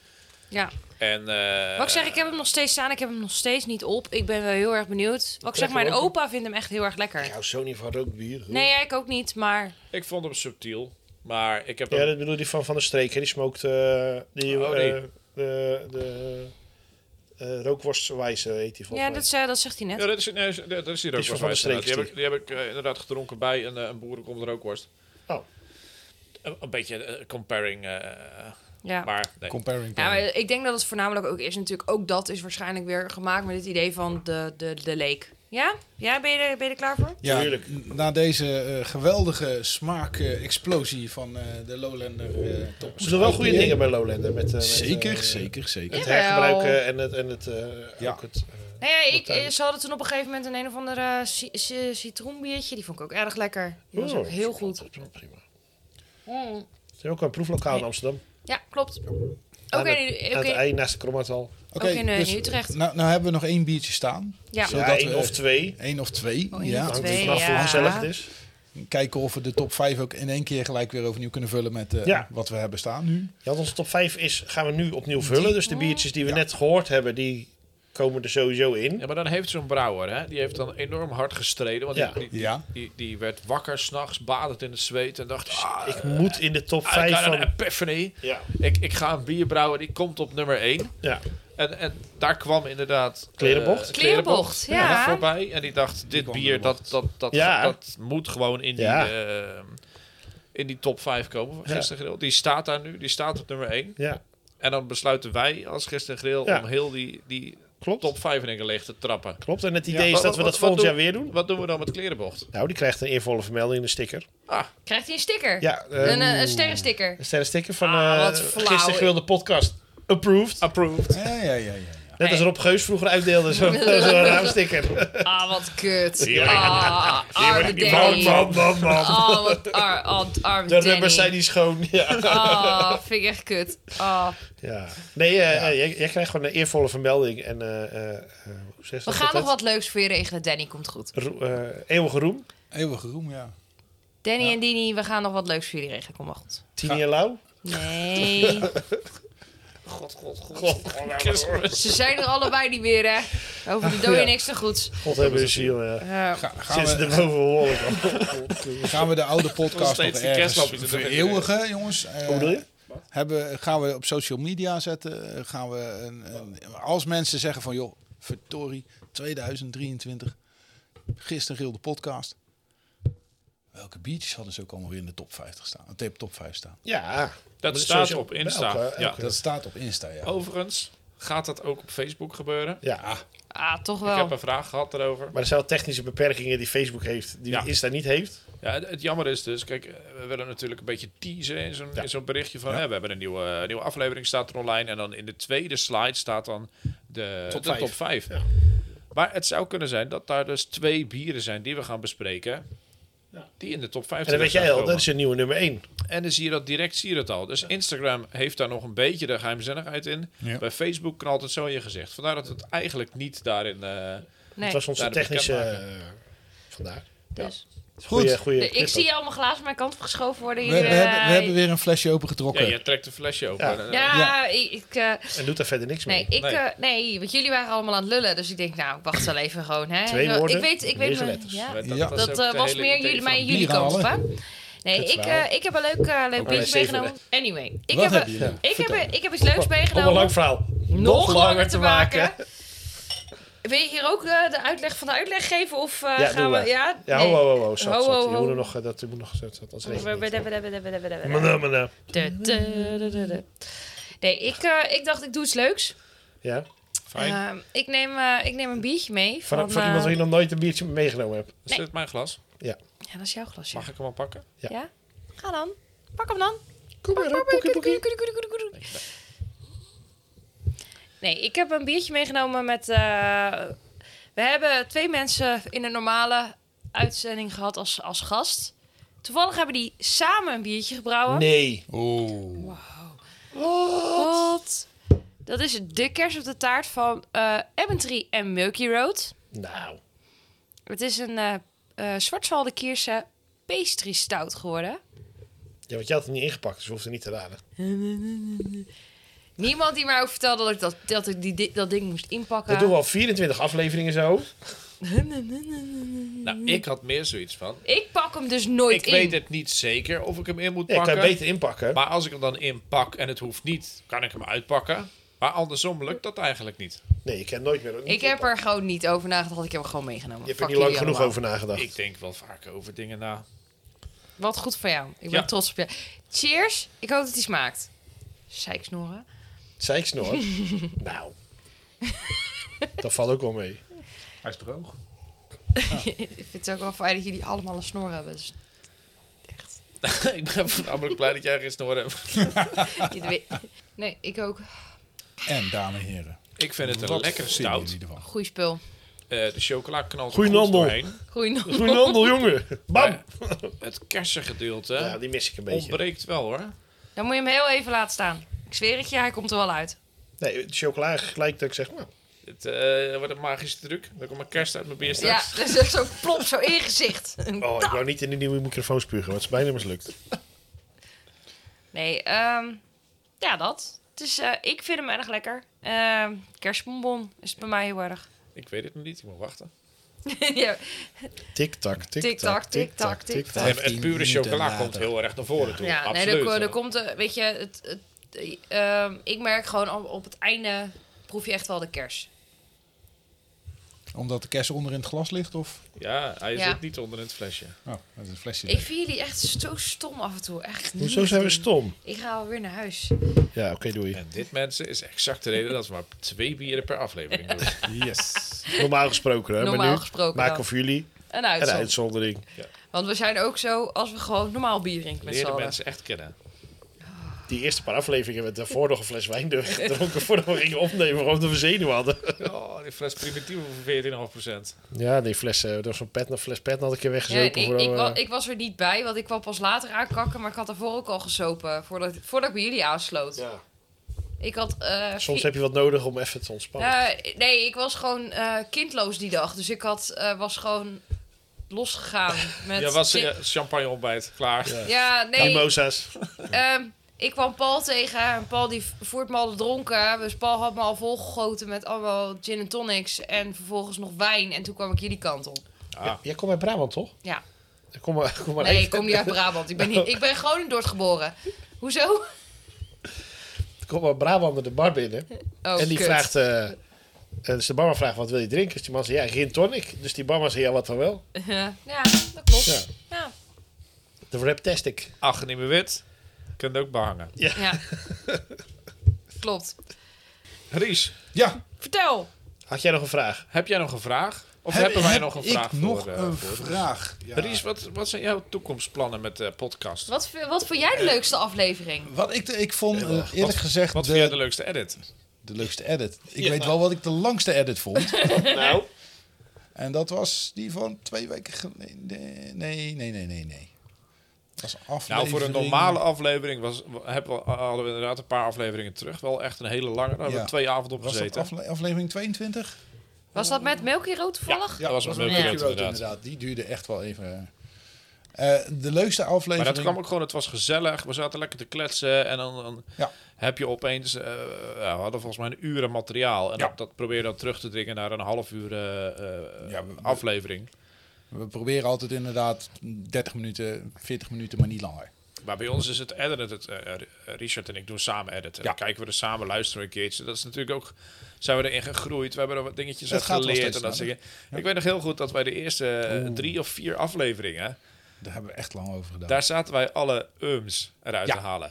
S3: Ja.
S2: En, eh,
S3: Wat ik zeg, ik heb hem nog steeds staan. Ik heb hem nog steeds niet op. Ik ben wel heel erg benieuwd. Wat ik zeg, mijn opa vindt hem echt heel erg
S1: Ik
S3: lekker.
S1: hou zo niet Nou, van rookbier.
S3: Nee, ja, ik ook niet, maar...
S2: Ik vond hem subtiel. Maar ik heb
S1: Ja,
S2: hem-
S1: dat bedoel die van Van der Streek. Hè? Die smookt eh, die,
S2: Oh, die.
S1: eh, de, de eh rookworstwijze, heet die volgens
S3: Ja,
S1: mij.
S3: dat, zei- dat zegt hij net.
S2: Ja, dat is, nee, dat- dat is hier ook
S1: Die is
S2: wel
S1: van Van der
S2: Die heb
S1: Streek,
S2: ik, die heb ik eh, inderdaad gedronken bij een, eh, een boerenkom rookworst.
S1: Oh.
S2: Een, een beetje eh, comparing, eh,
S3: Ja.
S2: maar nee.
S4: Comparing.
S3: Ja, maar ik denk dat het voornamelijk ook is natuurlijk... Ook dat is waarschijnlijk weer gemaakt met het idee van de, de, de leek. Ja? Ja, ben je er, ben je er klaar voor?
S4: Ja,
S1: Tuurlijk.
S4: n- na deze eh, geweldige smaakexplosie van eh, de Lowlander eh
S1: Er
S4: Tops.
S1: zijn wel goede dingen bij Lowlander. Met, eh, met,
S4: Zeker,
S1: eh,
S4: zeker, zeker.
S1: Het
S3: Jawel.
S1: hergebruiken en het... En het eh,
S4: Ja.
S1: ook het, eh,
S3: Nou ja, ik,
S1: Partij.
S3: eh, ze hadden toen op een gegeven moment een een of ander eh, ci- ci- citroenbiertje. Die vond ik ook erg lekker. Die was
S1: oh,
S3: ook heel goed.
S1: Dat is wel prima. Er
S3: Mm.
S1: is ook een proeflokaal in Amsterdam.
S3: Ja, klopt. Oké,
S1: Aan het-
S3: oké.
S1: Aan het ei naast de Kromatal.
S3: ook in, eh, Utrecht.
S4: Nou, nou hebben we nog één biertje staan.
S3: Ja.
S4: Zo.
S1: Ja,
S4: Zodat
S1: één
S4: we-
S1: of twee.
S4: Eén of twee.
S3: Oh, één
S4: ja.
S3: of
S1: Hangt er
S3: Twee,
S1: vanaf hoe
S3: ja.
S1: gezellig het is.
S4: Kijken of we de top vijf ook in één keer gelijk weer overnieuw kunnen vullen met eh,
S1: Ja.
S4: wat we hebben staan nu.
S1: Ja, want onze top 5 is, gaan we nu opnieuw vullen. Dus de biertjes die we net gehoord hebben, die komen er sowieso in.
S2: Ja, maar dan heeft zo'n brouwer, hè, die heeft dan enorm hard gestreden. Want
S1: Ja.
S2: die, die,
S4: Ja.
S2: die, die werd wakker s'nachts, badend in het zweet en dacht... Ah,
S1: Ik moet in de top
S2: I
S1: 5
S2: got an
S1: van...
S2: epiphany.
S1: Ja,
S2: Ik, ik ga een bier brouwen, die komt op nummer 1.
S1: ja.
S2: En, en daar kwam inderdaad... eh,
S1: Klerenbocht?
S3: Klerenbocht, ja.
S2: Voorbij. En die dacht, dit
S4: kwam
S2: bier,
S4: er
S2: dat, dat, dat,
S1: Ja.
S2: dat moet gewoon in die,
S1: Ja.
S2: eh, in die top 5 komen van
S1: Ja.
S2: Gisteren Grill. Die staat daar nu, die staat op nummer 1.
S1: ja.
S2: En dan besluiten wij als Gisteren Grill
S1: Ja.
S2: om heel die, die
S1: Klopt.
S2: top 5 in één keer leeg te trappen.
S1: Klopt. En het
S2: Ja,
S1: idee is
S2: wat-
S1: dat we
S2: wat-
S1: dat
S2: wat
S1: volgend jaar
S2: doen-
S1: weer doen.
S2: Wat doen we dan met klerenbocht?
S1: Nou, die krijgt een eervolle vermelding in de sticker.
S2: Ah,
S3: Krijgt hij een sticker?
S1: Ja, eh,
S3: Een, eh, een sterrensticker.
S1: een sterrensticker van
S3: Ah,
S1: eh,
S3: wat flauw.
S1: gisteren gewilde podcast. Approved.
S2: approved.
S4: Ja, ja, ja. ja.
S1: Net als Rob Geus vroeger uitdeelde, zo'n zo zo'n raamsticker.
S3: Ah, wat kut.
S1: Hier,
S3: Ah, arme
S1: Man,
S3: Danny.
S1: man, man, man.
S3: Ah, wat ar, ah, arme
S1: De
S3: Danny.
S1: rubbers zijn niet schoon. Ja.
S3: Ah, vind ik echt kut. Ah.
S1: ja. Nee, eh, eh, jij, jij krijgt gewoon een eervolle vermelding. En, eh, eh, eh, hoe zeg je
S3: We
S1: dat
S3: gaan nog
S1: altijd?
S3: wat leuks voor je regelen. Danny komt goed.
S1: Ro- eh, eeuwige roem.
S4: Eeuwige roem, ja.
S3: Danny en Dini, we gaan nog wat leuks voor jullie regelen. Kom maar goed.
S1: Tini en Lau.
S3: Nee.
S2: God, god, god. Christmas.
S3: Ze zijn er allebei niet meer, hè? Over de dode
S1: Ja.
S3: niks te goed.
S1: God hebben ze ziel. ja.
S3: Eh,
S4: Ga- gaan,
S1: Zitten ze
S4: we,
S1: er boven wolken.
S4: gaan we de oude podcast nog
S2: steeds die kerstlampjes
S4: ergens
S2: er doorheen.
S4: vereeuwigen, jongens? Eh,
S1: Hoe bedoel je?
S4: Hebben, gaan we op social media zetten? Gaan we een, een- als mensen zeggen van, joh, verdorie, 2023, gisteren gilde podcast. Welke biertjes hadden ze ook allemaal weer in de top 50 staan? De top 5 staan.
S1: Ja.
S2: Dat
S1: Maar
S2: staat
S1: social-
S2: op Insta.
S1: Elke- elke-
S2: ja.
S4: Dat staat op Insta,
S3: Oh,
S4: ja.
S2: Overigens gaat dat ook op Facebook gebeuren.
S1: Ja.
S3: ah, toch
S2: Ik
S3: wel.
S2: heb een vraag gehad daarover.
S1: Maar er zijn wel technische beperkingen die Facebook heeft, die
S2: Ja.
S1: Insta niet heeft.
S2: Ja, het, het jammer is dus, kijk, eh, we willen natuurlijk een beetje teasen in zo'n
S1: Ja.
S2: in zo'n berichtje van,
S4: Ja.
S2: hè, we hebben een nieuwe, een nieuwe aflevering staat er online en dan in de tweede slide staat dan de
S1: Top
S2: de
S1: vijf.
S2: top 5. Maar het zou kunnen zijn dat daar dus twee bieren zijn die we gaan bespreken, die in de top 5
S1: En dan weet jij al, dus- dat is een nieuwe nummer 1.
S2: En dan zie je dat direct, zie je het al. Dus Instagram heeft daar nog een beetje de geheimzinnigheid in.
S4: Ja.
S2: Bij Facebook knalt het zo in je gezicht. Vandaar dat het eigenlijk niet daarin... eh,
S3: Nee.
S1: Het was onze
S2: Ja, dat
S1: technische...
S2: bekendmaken.
S1: eh, Vandaar.
S3: Dus.
S1: Goeie,
S4: Goed,
S1: goeie
S3: Nee, ik
S1: knip ook.
S3: zie allemaal glazen mijn kant op geschoven worden.
S4: we,
S3: Hier,
S4: we
S3: eh,
S4: hebben, we hebben weer een flesje
S2: ja,
S4: opengetrokken.
S2: je trekt een flesje open.
S1: Ja.
S2: En, eh,
S3: Ja,
S4: Ja.
S3: ik... ik eh,
S1: En doet daar verder niks
S3: nee,
S1: mee.
S3: ik,
S2: Nee.
S3: eh, nee, want jullie waren allemaal aan het lullen. Dus ik denk, nou, ik wacht wel even gewoon. Hè.
S1: Twee
S3: ik,
S1: woorden,
S3: ik weet, ik weet
S1: negen
S3: me-
S1: letters.
S3: ja.
S2: Dat, was,
S4: Ja.
S3: Dat
S2: ook
S3: eh,
S2: de
S3: was
S2: hele
S3: meer
S2: idee
S3: jullie,
S2: van-
S3: mij en jullie kant op, hè? Nee,
S1: Kut
S3: ik, eh,
S1: verhaal.
S3: ik heb een leuk, eh, leuk
S1: wij
S3: beetje
S1: zeven,
S3: meegenomen. Anyway, ik
S4: Wat
S3: heb,
S4: hebben
S3: een-
S4: jullie?
S3: ik, heb, een- ik heb iets leuks
S1: Om een
S3: meegenomen.
S1: lang verhaal.
S3: nog langer te maken. Wil je hier ook eh, de uitleg van de uitleg geven? Of eh,
S1: Ja,
S3: gaan
S1: doen
S3: we...
S1: we.
S3: Ja,
S1: Ja,
S3: nee.
S1: ho, ho, ho, ho. Zat,
S3: Ho,
S1: zat.
S3: ho,
S1: Je
S3: ho.
S1: moet er nog... eh, Dat je moet nog... zat, zat, Anders regent het niet.
S3: Blablabla.
S1: Mene, mene.
S3: Du- du- du- du- du. Nee, ik, eh, ik dacht ik doe iets leuks.
S1: Ja.
S2: Fijn.
S3: Ehm, ik, neem, eh, ik neem een biertje mee.
S1: Van,
S3: Van,
S1: van
S3: eh,
S1: iemand die nog nooit een biertje meegenomen hebt.
S2: Is dit mijn glas?
S3: Ja, dat is jouw glasje.
S2: Mag ik hem al pakken?
S1: Ja.
S3: Ja? Ga dan. Pak hem dan.
S1: Kom maar,
S3: Pak,
S1: hoor,
S3: pak,
S1: poekie,
S3: pak,
S1: poekie.
S3: pak, pak, pak, pak, pak. Nee, ik heb een biertje meegenomen met... eh, we hebben twee mensen in een normale uitzending gehad als, als gast. Toevallig hebben die samen een biertje gebrouwen.
S1: Nee.
S4: Oeh.
S3: Wat? Dat is de kers op de taart van eh Abbentree en Milky Road.
S1: Nou.
S3: Het is een eh eh Schwarzwalde Kierse pastry stout geworden.
S1: Ja, want je had het niet ingepakt, dus je hoeft het niet te raden.
S3: Niemand die mij ook vertelde dat ik dat, dat, ik die, di- dat ding moest inpakken.
S1: Dat doen we al 24 afleveringen zo.
S2: Nou, ik had meer zoiets van.
S3: Ik pak hem dus nooit
S2: ik
S3: in.
S2: weet het niet zeker of ik hem in moet
S1: Ja, ik kan
S2: pakken.
S1: je beter inpakken.
S2: Maar als ik hem dan inpak en het hoeft niet, kan ik hem uitpakken. Maar andersom lukt dat eigenlijk niet.
S1: Nee, ik kan nooit meer. niet
S3: Ik heb er
S1: inpakken.
S3: gewoon niet over nagedacht. Ik heb hem gewoon meegenomen.
S1: Je hebt er
S3: Fuck
S1: niet lang
S3: jullie
S1: genoeg
S3: allemaal.
S1: over nagedacht.
S2: Ik denk wel vaker over dingen na.
S3: Wat goed van jou. Ik ben
S2: Ja.
S3: trots op je. Cheers. Ik hoop dat hij smaakt. Zeiksnoren.
S1: Zei ik snor? nou. Dat valt ook wel mee.
S2: Hij is droog.
S3: ik vind het ook wel fijn dat jullie allemaal een snor hebben. Dus
S2: ik ben voornamelijk blij dat jij geen snor hebt.
S3: je weet- nee, ik ook.
S4: En dames en heren.
S2: Ik vind het een
S4: wat
S2: lekkere
S4: vinden
S2: stout.
S4: jullie ervan?
S3: Goeie spul.
S2: Eh, de chocola knalt er
S1: Goeie
S2: goed
S1: nandel.
S2: doorheen.
S3: Goeie nog.
S1: Groenhandel, jongen. Bam!
S2: Maar het kersengedeelte
S1: Ja, die mis ik een beetje.
S2: ontbreekt wel hoor.
S3: Dan moet je hem heel even laten staan. Ik zweer het je, hij komt er wel uit.
S1: Nee, de chocola gelijk dat ik zeg, nou,
S2: Het eh, wordt een magische truc. Dan komt mijn kerst uit mijn bier
S3: Ja,
S2: straks.
S3: dus dat is zo plop, zo in je gezicht.
S1: oh, ik wou niet in de nieuwe microfoon spugen, want het is bijna mislukt.
S3: Nee, ehm, ja, dat. Dus eh, ik vind hem erg lekker. Ehm kerstbonbon is het bij mij heel erg.
S2: Ik weet het nog niet, ik moet wachten.
S3: ja, Tik-tak,
S1: Tik-tak, tik-tak, tik-tak,
S3: tik-tak,
S1: tik-tak.
S3: tik-tak.
S2: En
S4: 15
S2: het pure
S4: minuten
S2: chocola
S4: later.
S2: komt heel erg naar voren toe.
S3: ja nee,
S2: Absoluut.
S3: er, ko- er komt, eh, weet je, het, het, eh, ehm, ik merk gewoon op, op het einde proef je echt wel de kers.
S4: Omdat de kerst onder in het glas ligt? Of?
S2: Ja, hij
S3: Ja.
S2: zit niet onder in het flesje.
S4: Oh, dat is een flesje.
S3: Ik vind jullie echt zo stom af en toe. Echt niet
S1: Hoezo zijn we
S3: doen.
S1: stom?
S3: Ik ga alweer naar huis.
S1: Ja, oké, doei.
S2: En dit, mensen, is exact de reden dat we maar twee bieren per aflevering doen.
S4: Yes.
S1: Normaal gesproken, hè? maar
S3: Normaal
S1: nu
S3: gesproken
S1: maken
S3: dan.
S1: we voor jullie
S3: Een
S1: een
S3: uitzondering.
S1: uitzondering.
S3: Want we zijn ook zo als we gewoon normaal bier drinken met z'n
S2: Leer de
S3: allen.
S2: mensen echt kennen.
S1: Die eerste paar afleveringen met daarvoor nog een fles wijn door- gedronken voordat we gingen opnemen, gewoon omdat we zenuwen hadden.
S2: Oh, die fles primitieve voor 14,5
S1: Ja, die fles, eh, door zo'n pet, een fles pet had ik een
S3: Ja,
S1: weggezopen.
S3: en ik,
S1: voor,
S3: ik,
S1: eh,
S3: wa- ik was er niet bij, want ik kwam pas later aankakken. Maar ik had daarvoor ook al gesopen, voordat, voordat ik bij jullie aansloot.
S1: ja.
S3: Ik had... eh,
S1: Soms
S3: vi-
S1: heb je wat nodig om even te ontspannen.
S3: Nou, nee, ik was gewoon eh, kindloos die dag. Dus ik had, eh, was gewoon losgegaan met...
S2: Ja, was
S3: ki-
S2: eh, champagne ontbijt. Klaar.
S1: Ja.
S3: Ja, nee.
S1: Mimosa's.
S3: ehm, ik kwam Paul tegen. En Paul die v- voert me al dronken. Dus Paul had me al volgegoten met allemaal gin en tonics. En vervolgens nog wijn. En toen kwam ik jullie kant op.
S2: Ah,
S1: Jij komt uit Brabant, toch?
S3: Ja.
S1: Kom maar, kom maar
S3: Nee,
S1: even.
S3: ik kom niet uit Brabant. Ik ben, niet, ik ben gewoon in Dordt geboren. Hoezo?
S1: komt een Brabander de bar binnen.
S3: Oh,
S1: en die
S3: kut.
S1: vraagt... eh, eh, dus de barman vraagt, wat wil je drinken? Dus die man zegt, ja, gin tonic. Dus die barman zegt, ja, wat dan wel?
S3: Ja, ja, dat klopt.
S1: Ja.
S3: Ja. Ja.
S1: De raptastic.
S2: ach, niet meer wit. Kunt ook behangen.
S3: klopt.
S2: Ries,
S4: Ja,
S3: Vertel.
S1: Had jij nog een vraag?
S2: heb jij nog een vraag? Of
S4: heb-
S2: hebben wij
S4: heb
S2: nog een
S4: ik
S2: vraag
S4: nog
S2: voor, eh,
S4: een
S2: voor-
S4: vraag. Ja.
S2: Ries, wat, wat zijn jouw toekomstplannen met de podcast?
S3: Wat, v- wat vond jij de leukste aflevering?
S4: Wat ik, de- ik vond, eh, eerlijk gezegd,
S2: Wat vind jij
S4: de,
S2: de leukste edit?
S4: de leukste edit. Ik
S1: Ja.
S4: weet wel wat ik de langste edit vond.
S1: Nou,
S4: En dat was die van twee weken geleden. Nee, nee, nee, nee, nee. nee. Dat was een
S2: Nou,
S4: aflevering.
S2: voor een normale aflevering was, hebben we, hadden we inderdaad een paar afleveringen terug. Wel echt een hele lange. Daar hebben
S4: Ja.
S2: we twee avonden op
S4: Was dat
S2: gezeten.
S4: afle- aflevering 22?
S3: Was dat met Milky Road toevallig?
S2: dat was wel
S4: een
S2: leuk,
S4: leuke
S2: inderdaad.
S4: road, Die duurde echt wel even. eh. Eh, de leukste aflevering.
S2: Maar dat kwam ook gewoon, het was gezellig. We zaten lekker te kletsen. En dan, dan
S4: Ja.
S2: heb je opeens... eh, ja, we hadden volgens mij een uren materiaal. En
S4: Ja.
S2: dat, dat probeer je dan terug te dringen naar een half uur eh, eh,
S4: Ja, we- we-
S2: aflevering.
S4: We proberen altijd inderdaad 30 minuten, 40 minuten, maar niet langer.
S2: Maar bij ons is het editen. Het, eh, eh, Richard en ik doen samen editen.
S4: Ja.
S2: Dan kijken we er samen, luisteren we een keertje. Dat is natuurlijk ook... Zijn we erin gegroeid? We hebben er wat dingetjes
S4: Het
S2: uit
S4: gaat wel
S2: geleerd. En
S4: steeds
S2: dat soort dingen. Ik weet nog heel goed dat wij de eerste eh, drie of vier afleveringen...
S4: Daar hebben we echt lang over gedaan.
S2: Daar zaten wij alle ums eruit
S4: Ja.
S2: te halen.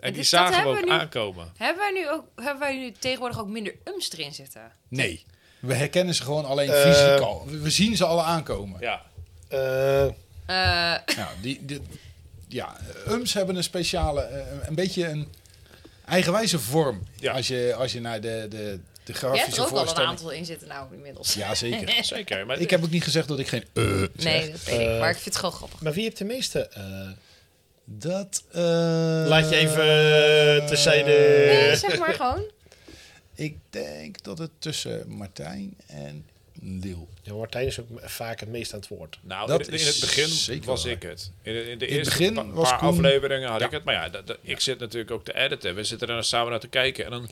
S2: En die
S3: dus dat
S2: zagen we
S3: hebben
S2: ook
S3: we nu-
S2: aankomen.
S3: Hebben, wij nu ook, hebben wij nu tegenwoordig ook minder ums erin zitten?
S4: Nee. We herkennen ze gewoon alleen
S1: Eh.
S4: fysiek al. We we zien ze alle aankomen.
S2: Ja.
S1: eh,
S3: Eh,
S4: Nou, die, die- ja, UMS hebben een speciale, eh, een beetje een eigenwijze vorm.
S2: Ja.
S4: Als, je, als je naar de, de, de
S3: je
S4: grafische
S3: hebt er ook al een
S4: voorstelling...
S3: aantal in zitten nou inmiddels.
S4: Ja, zeker.
S2: Zeker, maar
S4: ik heb ook niet gezegd dat ik geen eh zeg.
S3: nee, dat weet ik. Maar ik vind het gewoon grappig.
S1: maar wie heeft de meeste? eh,
S4: Dat... eh,
S1: Laat je even eh, terzijde...
S3: Nee, zeg maar gewoon.
S4: Ik denk dat het tussen Martijn en deel.
S1: Ja, Martijn is ook m- vaak het meest aan het woord.
S2: Nou,
S4: Dat
S2: in, in
S4: is
S2: het begin
S4: zeker
S2: was
S4: waar.
S2: ik het. In, de- in de
S4: In het
S2: eerste
S4: begin
S2: pa-
S4: was
S2: paar
S4: Koen-
S2: afleveringen had
S4: Ja.
S2: ik het. Maar ja, dat- dat- ik zit natuurlijk ook te editen. We zitten er nou samen naar te kijken. En dan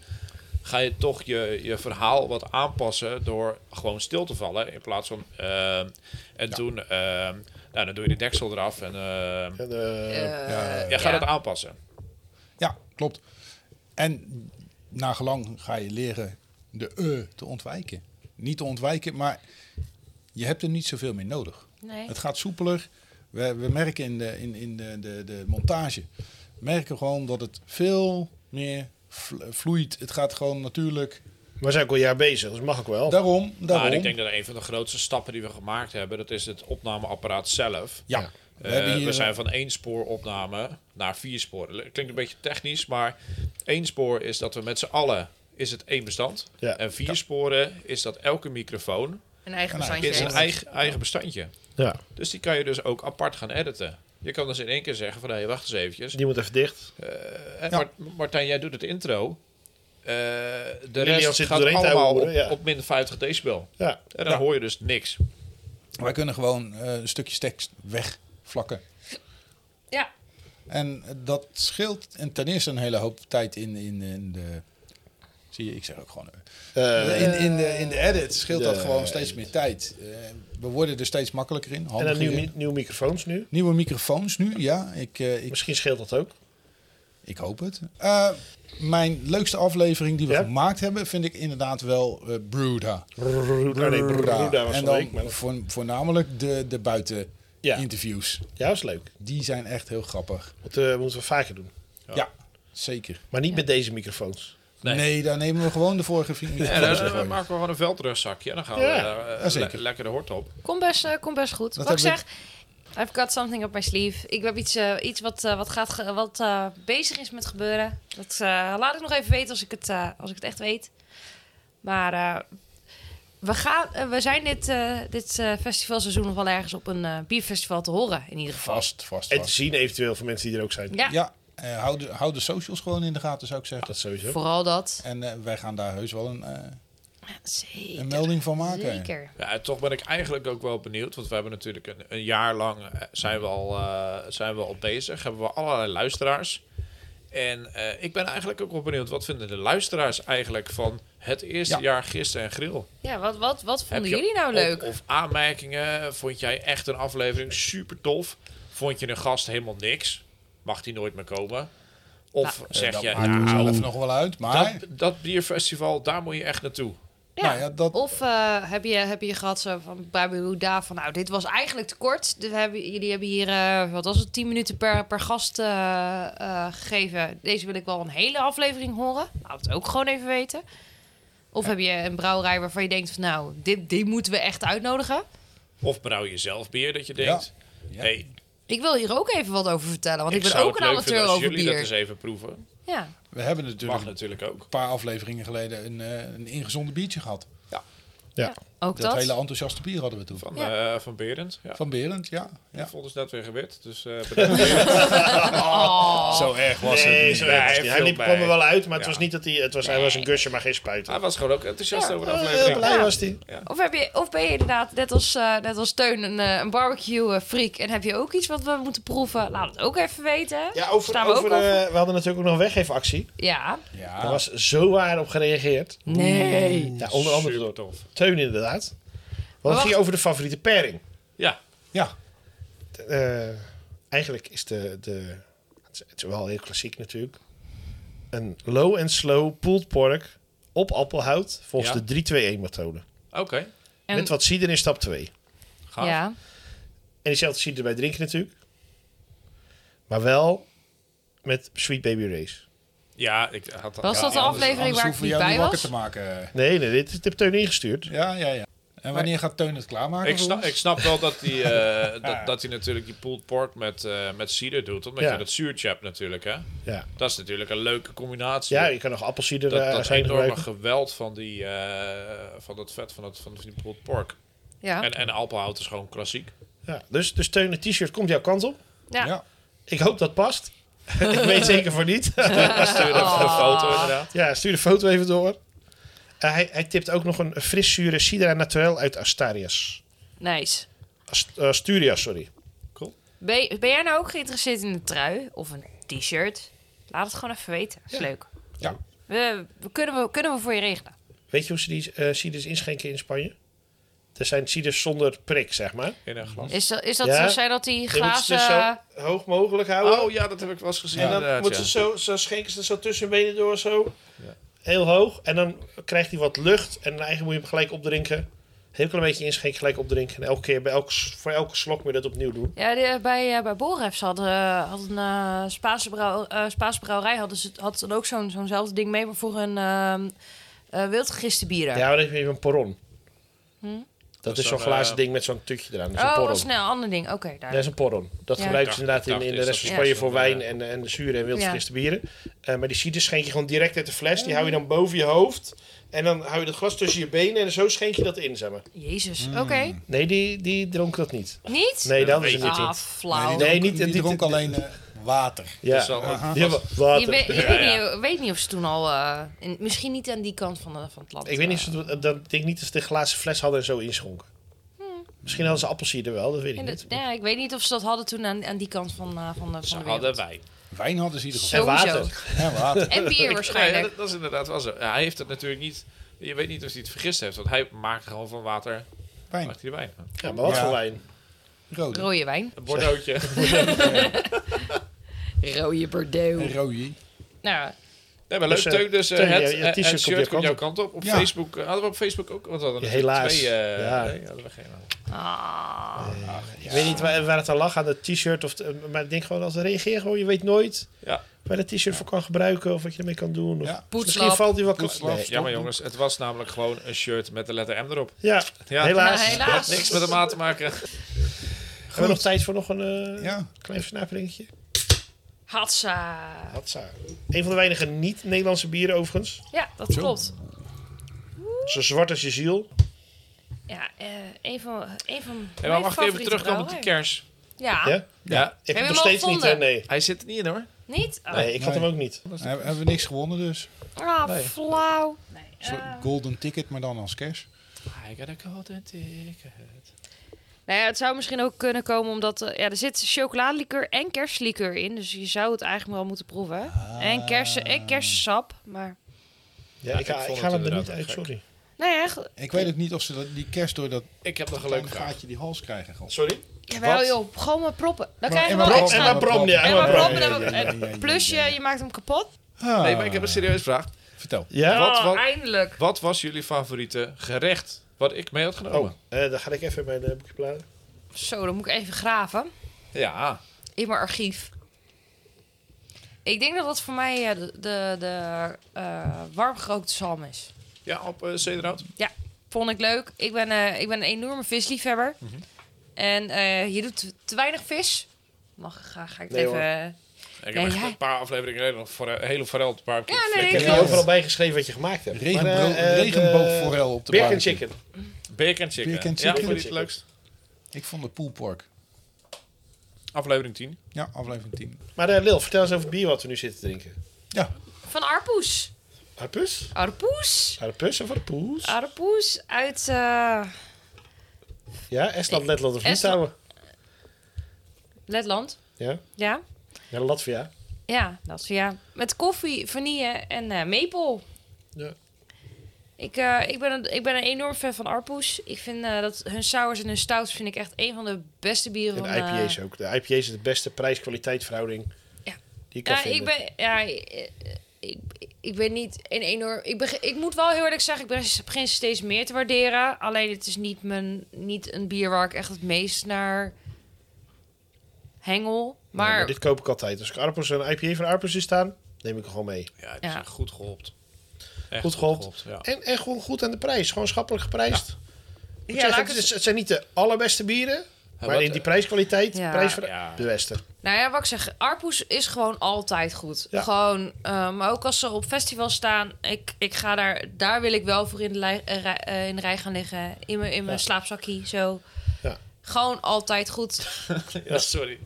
S2: ga je toch je, je verhaal wat aanpassen door gewoon stil te vallen. In plaats van... ehm, en toen... ehm, nou, dan doe je de deksel eraf en... ehm,
S1: En, eh,
S4: ja.
S2: ja, ga dat aanpassen.
S4: Ja, klopt. En na gelang ga je leren de eh te ontwijken. Niet te ontwijken, maar je hebt er niet zoveel meer nodig.
S3: Nee.
S4: Het gaat soepeler. We, we merken in, de, in, in de, de, de montage, merken we gewoon dat het veel meer vl- vloeit. Het gaat gewoon natuurlijk.
S1: maar we zijn ook al een jaar bezig, dus mag ook wel.
S4: Daarom,
S2: Nou, en
S4: daarom.
S2: ik denk dat een van de grootste stappen die we gemaakt hebben... dat is het opnameapparaat zelf.
S4: ja,
S2: We,
S4: we hebben hier
S2: Eh, we zijn van één spooropname naar vier sporen. Klinkt een beetje technisch, maar één spoor is dat we met z'n allen is het één bestand.
S1: Ja.
S2: En vier sporen is dat elke microfoon
S5: Een eigen
S4: Ja, nou,
S5: bestandje
S2: is een
S5: heeft.
S2: eigen, eigen bestandje.
S1: Ja.
S2: Dus die kan je dus ook apart gaan editen. Je kan dus in één keer zeggen van, hé, wacht eens eventjes.
S1: Die moet even dicht.
S2: Eh, Mart- Martijn, jij doet het intro. Eh, de
S1: Lilian
S2: rest
S1: zit
S2: gaat
S1: doorheen te
S2: allemaal op,
S1: ouwehoeren, ja.
S2: op min 50 decibel.
S1: Ja.
S2: En dan hoor je dus niks.
S4: Wij kunnen gewoon eh, een stukje tekst wegvlakken.
S5: Ja.
S4: En dat scheelt en ten eerste een hele hoop tijd in, in, in de... Zie je, ik zeg ook gewoon... eh,
S1: Eh,
S4: in, in, de, in de edit scheelt dat
S1: de
S4: gewoon steeds meer tijd. Eh, we worden er steeds makkelijker in.
S1: en dan
S4: handiger
S1: nieuwe,
S4: in.
S1: nieuwe microfoons nu.
S4: Nieuwe microfoons nu, ja. Ik, eh, ik,
S1: Misschien scheelt dat ook.
S4: ik hoop het. Eh, mijn leukste aflevering die we
S1: Ja?
S4: gemaakt hebben... vind ik inderdaad wel eh Bruda.
S1: Roeda. Ah, Nee, Roeda was
S4: en
S1: van de week. Maar...
S4: dan voor, voornamelijk de, de
S1: Ja.
S4: buiteninterviews.
S1: Ja, was leuk.
S4: Die zijn echt heel grappig.
S1: Dat eh, moeten we vaker doen.
S4: Ja, zeker.
S1: Maar niet met deze microfoons.
S2: Nee.
S4: Nee. daar nemen we gewoon de vorige
S2: En dan eh,
S4: vrienden.
S2: maken we gewoon een veldrugzakje. En dan gaan we
S1: Ja,
S2: eh,
S4: ja, zeker.
S2: le- lekker de hort op.
S3: Kom best, eh, kom best goed.
S4: Dat
S3: wat ik
S4: hebben
S3: zeg, I've got something up my sleeve. Ik heb iets, eh, iets wat, eh, wat, gaat ge- wat eh, bezig is met gebeuren. Dat eh, laat ik nog even weten als ik het, eh, als ik het echt weet. Maar eh, we, gaan, eh, we zijn dit, eh, dit eh, festivalseizoen nog wel ergens op een eh, bierfestival te horen, in ieder geval.
S4: Vast, vast,
S1: En te
S4: vast.
S1: zien eventueel voor mensen die er ook zijn.
S3: Ja,
S4: Ja, eh, hou, de, hou de socials gewoon in de gaten, zou ik zeggen.
S1: Dat sowieso.
S5: Vooral dat.
S4: En eh, wij gaan daar heus wel een, eh,
S3: zeker.
S4: een melding van maken.
S3: Zeker.
S2: Ja, en toch ben ik eigenlijk ook wel benieuwd. Want we hebben natuurlijk een, een jaar lang eh, zijn we, al, eh, zijn we al bezig. Hebben we allerlei luisteraars. En eh, ik ben eigenlijk ook wel benieuwd. Wat vinden de luisteraars eigenlijk van het eerste
S4: Ja.
S2: jaar gisteren en grill?
S3: Ja, wat, wat, wat vonden
S2: Heb je
S3: jullie nou leuk?
S2: Of, of aanmerkingen? Vond jij echt een aflevering super tof? Vond je een gast helemaal niks? Mag die nooit meer komen? Of
S4: Eh,
S2: zeg
S4: dat
S2: je,
S4: maakt er
S2: nou,
S4: zelf nog wel uit. Maar
S2: dat, dat bierfestival, daar moet je echt naartoe.
S3: Ja.
S4: Nou ja, dat,
S5: Of eh, heb, je, heb je gehad zo van bij Ruda van nou, dit was eigenlijk te kort. Dit hebben, jullie hebben hier, eh, wat was het, 10 minuten per, per gast eh, eh, gegeven. Deze wil ik wel een hele aflevering horen. Laat het ook gewoon even weten. Of heb je een brouwerij waarvan je denkt van nou, dit, die moeten we echt uitnodigen.
S2: Of brouw je zelf bier dat je
S4: Ja.
S2: denkt...
S4: Ja.
S2: Hey,
S5: Ik wil hier ook even wat over vertellen, want ik, ben
S2: zou
S5: ook
S2: het
S5: een
S2: leuk vinden
S5: amateur
S2: als
S5: over
S2: jullie
S5: bier.
S2: dat eens even proeven.
S5: Ja.
S4: we hebben
S2: Mag
S4: natuurlijk een
S2: natuurlijk ook.
S4: paar afleveringen geleden een, eh, een ingezonden biertje gehad.
S1: Ja.
S5: Ook
S4: Dat,
S5: dat.
S4: hele enthousiaste bier hadden we toen. Van,
S2: Van,
S5: Ja.
S2: eh, van Berend. Ja.
S4: Berend, ja. ja.
S2: Ik vond het net weer gewit. Dus eh bedankt. Berend.
S5: Oh.
S4: Zo erg was
S1: Nee,
S4: het
S1: zo
S4: niet.
S2: Nee, hij
S1: erg was het niet.
S2: viel
S1: Hij liep,
S2: bij.
S1: kwam er wel uit, maar het
S2: Ja.
S1: was niet dat hij... Het was, Dus Hij was een gusje, maar geen spuiter.
S2: Hij was gewoon ook enthousiast over de
S5: eh,
S1: heel
S2: aflevering.
S1: Eh, blij was hij.
S5: Of, heb je, of ben je inderdaad, net als, eh, net als Teun, een, eh, een barbecue-freak? En heb je ook iets wat we moeten proeven? Laat het ook even weten.
S1: Ja, over,
S5: Staan we ook
S1: over,
S5: al
S1: eh, we hadden natuurlijk ook nog een weggeefactie.
S5: Ja.
S1: Daar
S4: Ja,
S1: was zo waar op gereageerd.
S5: Nee.
S2: dus-
S1: Ja, onder andere
S2: Super
S1: door
S2: tof.
S1: Teun inderdaad. Want het
S5: wacht.
S1: ging over de favoriete pairing.
S2: Ja,
S4: ja.
S1: Eh, eigenlijk is de, de... Het is, het is wel heel klassiek natuurlijk. Een low and slow pulled pork op appelhout volgens
S2: Ja.
S1: de 3-2-1 methode.
S2: oké.
S5: En-
S1: Met wat cider in stap 2.
S2: Gaaf.
S5: Ja.
S1: En diezelfde cider bij drinken natuurlijk. Maar wel met Sweet Baby Race.
S2: Ja, ik had
S5: Was
S2: ja,
S5: dat de
S2: anders-
S5: aflevering
S4: Anders
S5: waar ik
S4: hoeven we
S5: niet
S4: jou
S5: bij
S4: niet
S5: was?
S4: wakker te maken.
S1: Nee, nee, dit, dit heb Teun ingestuurd.
S4: Ja, ja, ja. En wanneer gaat Teun het klaarmaken?
S2: Ik
S4: voor
S2: snap,
S4: ons?
S2: ik snap wel dat hij, eh, dat, dat hij natuurlijk die pulled pork met, eh met cider doet. Omdat
S1: Ja.
S2: je dat zuurtje hebt natuurlijk. Hè?
S1: Ja,
S2: Dat is natuurlijk een leuke combinatie.
S1: ja je kan nog appelsieder
S2: dat,
S1: eh,
S2: dat
S1: zijn
S2: enorme
S1: gebruiken.
S2: geweld van, die, eh, van dat vet van, dat, van die pulled pork.
S5: Ja.
S2: En, en alpenhout is gewoon klassiek.
S1: Ja, dus, dus Teun, het t-shirt komt jouw kant op.
S5: Ja.
S4: Ja.
S1: Ik hoop dat past. ik weet zeker voor niet.
S2: Stuur even een foto inderdaad.
S1: ja, stuur de foto even door. Eh, hij, hij tipt ook nog een friszure Sidra Naturel uit Astarias.
S3: Nice.
S1: Ast- eh, Asturias, sorry.
S3: Ben, ben jij nou ook geïnteresseerd in een trui of een t-shirt? Laat het gewoon even weten. Is leuk.
S4: Ja.
S3: We, we kunnen, we kunnen we voor je regelen.
S1: Weet je hoe ze die eh ciders inschenken in Spanje? Er zijn ciders zonder prik, zeg maar.
S2: In een glas.
S3: Is dat, is dat,
S1: Ja.
S3: zijn dat die
S1: Je moet ze
S3: glazen...
S1: dus zo hoog mogelijk houden.
S2: Oh ja, dat heb ik wel eens gezien.
S1: en dan
S2: inderdaad,
S1: moeten
S2: ja.
S1: ze zo, zo schenken ze er zo tussen hun benen door, zo.
S2: Ja.
S1: Heel hoog. En dan krijgt hij wat lucht. En eigenlijk moet je hem gelijk opdrinken. Heel klein beetje inschenken, gelijk opdrinken. En elke keer, bij elk, s- voor elke slok moet je dat opnieuw doen.
S3: Ja, die- bij, eh, bij Borefs hadden, eh, had een eh, Spaanse, brouw, eh, Spaanse brouwerij hadden ze, had ze ook zo'n zo'nzelfde ding mee, maar voor een ehm eh wildgegiste bieren.
S1: Ja, maar dan heb je even een poron.
S3: Hm?
S1: Dat
S2: Dat
S1: is
S2: is
S1: zo'n
S2: een,
S1: glazen
S2: eh,
S1: ding met zo'n tutje eraan. Dat is een
S3: oh,
S1: porron.
S3: wat snel, ander ding. Oké, daar.
S1: Dat is een porron. Dat
S3: Ja.
S1: gebruiken ze
S2: Ik dacht-
S1: inderdaad in,
S2: ik
S1: in
S2: dacht
S1: de rest
S2: eerst
S1: van
S2: dat
S1: Spanje
S2: ze
S1: voor
S2: dat,
S1: wijn
S2: eh,
S1: en, en de zure en wildgegiste bieren. Eh, maar die ciders schenk je gewoon direct uit de fles. Die hou je dan boven je hoofd. En dan hou je dat glas tussen je benen en zo schenk je dat in, zeg maar.
S3: Jezus, oké.
S1: Nee, die, die dronk dat niet.
S3: Niet?
S1: Nee, dat is
S2: eh, weet
S1: het niet.
S3: ah,
S1: in.
S3: flauw.
S1: Nee,
S4: dronk-
S1: niet-
S4: die
S1: niet-
S4: dronk
S1: niet-
S4: alleen eh, water.
S1: Ja.
S2: Dus dan-
S1: Ja, wa- water.
S3: Je, weet- je
S2: Ja,
S3: weet,
S2: ja.
S3: Niet, weet niet of ze toen al... eh, in- misschien niet aan die kant van, de- van het land.
S1: Ik weet niet, of
S3: eh,
S1: ze het- dat ik denk niet dat ze de glazen fles hadden en zo inschonken. Misschien hadden ze appelsier er wel, dat weet ik
S3: in
S1: niet.
S3: de- ja, ik weet niet of ze dat hadden toen aan, aan die kant van, eh, van de,
S2: Ze
S3: van de
S2: hadden
S3: wereld.
S2: wijn.
S4: Wijn hadden ze in ieder
S1: En
S3: Sowieso.
S1: water.
S4: geval. En water.
S3: En bier
S2: Ja,
S3: waarschijnlijk.
S2: dat, dat is inderdaad wel zo. Ja, hij heeft het natuurlijk niet... Je weet niet of hij het vergist heeft. Want hij maakt gewoon van water...
S4: Wijn.
S2: Maakt hij wijn.
S1: Ja, maar wat
S4: Ja.
S1: voor wijn?
S4: Rode.
S3: Rode wijn.
S2: Een bordeautje.
S3: Rode Bordeaux.
S4: En rode.
S3: Nou,
S2: Nee, maar leuk.
S1: Dus, eh,
S2: Teun, dus eh,
S1: Teun,
S2: het,
S1: je- je t-shirt
S2: het
S1: komt
S2: shirt,
S1: jouw
S2: komt jouw
S1: kant
S2: kant op. Op
S4: Ja.
S2: Facebook eh, hadden we op Facebook ook. Want we hadden
S1: Ja,
S2: natuurlijk
S1: helaas.
S2: Twee, eh,
S1: Ja.
S2: Nee, hadden we geen.
S3: ah.
S1: Ik weet niet waar, waar het aan lag, aan het t-shirt. Of het- maar ik denk gewoon, als reageer gewoon, je weet nooit
S2: Ja.
S1: waar het t-shirt voor kan gebruiken of wat je ermee kan doen. Of,
S4: Ja.
S1: Misschien
S3: Poetslap.
S1: valt die wel
S4: Poetslap.
S1: Nee.
S2: Ja, maar jongens, het was namelijk gewoon een shirt met de letter M erop.
S1: Ja,
S2: Ja,
S1: helaas.
S3: Nou, helaas.
S2: Had niks met de maat te maken.
S1: Hebben we nog tijd voor nog een eh,
S4: Ja.
S1: klein versnaperingetje?
S3: Hatsa.
S1: Hatsa. Een van de weinige niet-Nederlandse bieren overigens.
S3: Ja, dat
S4: Zo.
S3: klopt.
S1: Zo zwart als je ziel.
S3: Ja, eh een van, een van
S2: En
S3: mijn
S2: dan mag ik
S3: favoriete
S2: even terugkomen op die
S3: brouwerijen.
S2: kers.
S3: Ja.
S1: Ja?
S2: Ja.
S1: Ik
S3: Heb je
S1: heb
S3: hem
S1: nog
S3: al
S1: steeds niet, hè?
S3: gevonden?
S1: Nee.
S2: Hij zit er niet in hoor.
S3: Niet? Oh.
S1: Nee, ik had
S4: Nee.
S1: hem ook niet.
S4: He- hebben we niks gewonnen dus.
S3: Ah,
S2: Nee.
S3: flauw. Eh, Nee.
S4: Een soort golden ticket, maar dan als cash.
S2: I got a golden ticket.
S3: Nou ja, het zou misschien ook kunnen komen omdat eh, ja, er zit chocoladeliqueur en kerstlikeur in. Dus je zou het eigenlijk wel moeten proeven. En, kersen, en kersensap. Maar nou
S1: Ja,
S2: Ja,
S1: ik,
S2: ik
S1: ik,
S2: vond het
S1: haal hem er niet
S2: inderdaad
S1: uit,
S2: gek.
S1: sorry.
S3: nee, echt.
S4: Ik weet ook niet of ze dat, die kerst door dat
S2: Ik heb nog een leuke
S4: kleine
S2: vraag.
S4: gaatje die hals krijgen. gast.
S1: Sorry?
S3: Jawel
S2: Wat?
S3: joh, gewoon maar proppen. Dan
S4: Maar-
S3: krijg je
S4: en
S3: wel
S4: maar-
S1: En
S3: extra.
S1: maar brom, ja.
S4: En
S1: En
S3: maar
S1: maar
S3: brom,
S1: brom.
S4: ja,
S3: dan-
S4: ja, ja, ja, ja,
S3: Plus je,
S4: ja.
S3: je maakt hem kapot.
S4: Ah.
S2: Nee, maar ik heb een serieuze vraag.
S4: Vertel.
S1: Ja?
S2: Wat,
S3: Oh,
S2: wat-
S3: eindelijk.
S2: Wat was jullie favoriete gerecht wat ik mee had genomen?
S1: Oh, eh, dan ga ik even bij de boekje bladen.
S3: Zo, dan moet ik even graven.
S2: Ja,
S3: in mijn archief. Ik denk dat dat voor mij eh, de, de, de eh, warmgerookte zalm is.
S2: ja op eh Cederhout.
S3: Vond ik leuk. Ik ben, eh, ik ben een enorme visliefhebber. En eh, je doet te weinig vis. Mag, ga, ga ik het
S1: Nee,
S3: even...
S2: Ik heb
S3: Nee,
S2: echt
S3: jij-
S2: een paar afleveringen geleden nog voor hele forel op de barbecue.
S3: Ja, nee,
S1: Ik
S2: geflikkerd.
S1: heb hier overal bijgeschreven wat je gemaakt hebt.
S4: Regenbro- regenboogforel op de
S1: Birk eh, en
S4: barbecue.
S1: chicken.
S2: Bacon chicken.
S4: Bacon
S2: Ja,
S4: chicken.
S2: vond je het leukst?
S4: Ik vond de poolpork.
S2: Aflevering 10.
S4: Ja, aflevering 10.
S1: Maar eh, Lil, vertel eens over het bier wat we nu zitten te drinken.
S4: Ja,
S3: Van Arpoes.
S1: Harpus?
S3: Arpoes.
S1: Harpus of
S3: Ah.
S1: harpoes?
S3: Arpoes uit... eh,
S1: Ja, Estland, Letland of
S3: Estland.
S1: Litouwen.
S3: Letland.
S1: Ja,
S3: Ja.
S1: ja Latvia.
S3: Ja, dat is ja. Met koffie, vanille en eh maple.
S1: Ja.
S3: Ik, eh, ik, ben een, ik ben een enorm fan van Arpoes. Ik vind eh, dat hun sours en hun stouts vind ik echt een van de beste bieren
S1: En de
S3: van... eh,
S1: IPA's ook. De IPA's is de beste prijs-kwaliteit verhouding
S3: Ja.
S1: die ik kan
S3: ja,
S1: vinden.
S3: ik ben, ja, eh, ik, ik ben niet een enorm... Ik, begin, ik moet wel heel eerlijk zeggen, ik begin- begin steeds meer te waarderen. Alleen het is niet, mijn, niet een bier waar ik echt het meest naar hengel.
S1: Ja,
S3: Maar
S1: dit koop ik altijd. Als ik Arpus een IPA van Arpus zie staan, neem ik er gewoon mee.
S2: Ja, die
S3: Ja.
S2: zijn goed geholpt. Echt
S1: Goed geholpt.
S2: ja.
S1: En, en gewoon goed aan de prijs. Gewoon schappelijk geprijsd. Ik
S3: Ja,
S1: zeg,
S3: laat ik
S1: het, is- het zijn niet de allerbeste bieren, maar
S2: wat,
S1: in die prijskwaliteit,
S3: Ja.
S1: prijs voor
S2: Ja.
S1: de beste.
S3: Nou ja, wat ik zeg, Arpoes is gewoon altijd goed.
S1: Ja.
S3: Gewoon, eh, maar ook als ze op festivals staan, ik, ik ga daar, daar wil ik wel voor in de, lij- eh, rij- eh, in de rij gaan liggen. In mijn, in mijn
S1: Ja.
S3: slaapzakkie, zo.
S1: Ja.
S3: Gewoon altijd goed.
S2: Ja,
S1: dus-
S2: sorry.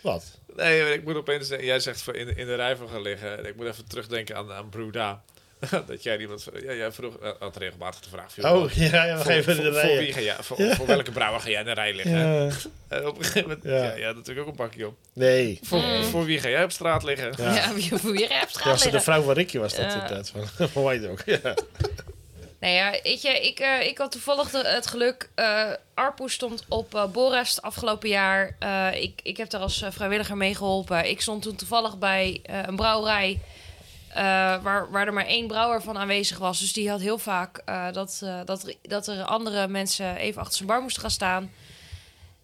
S1: Wat?
S2: Nee, maar ik moet opeens denken, jij zegt voor in, in de rij van gaan liggen. Ik moet even terugdenken aan, aan Bruda. dat jij iemand vro- ja, jij vroeg, eh, had regelmatig de vraag. joh,
S1: Oh, ja, ja, we
S2: voor,
S1: geven
S2: voor,
S1: de
S2: voor wie
S1: rijen.
S2: ga jij, voor, voor welke brouwer ga jij in de rij liggen?
S1: Ja.
S2: En op een gegeven moment,
S1: Ja.
S2: ja, ja, natuurlijk ook een pakje op.
S1: Nee.
S2: Voor, voor wie ga jij op straat liggen?
S1: Ja.
S3: Ja, wie voor je hebt
S1: Ja,
S3: gaan
S1: als het de
S3: liggen.
S1: vrouw van Ricky was
S3: Ja.
S1: dat inderdaad. Van, van White ook. Ja.
S3: Nou ja, weet je, ik, eh, ik had toevallig de- het geluk. eh Arpo stond op eh Borest afgelopen jaar. Eh, ik, ik heb daar als eh, vrijwilliger mee geholpen. Ik stond toen toevallig bij eh, een brouwerij. eh, waar, waar er maar één brouwer van aanwezig was. Dus die had heel vaak eh, dat, eh, dat, er- dat er andere mensen even achter zijn bar moesten gaan staan.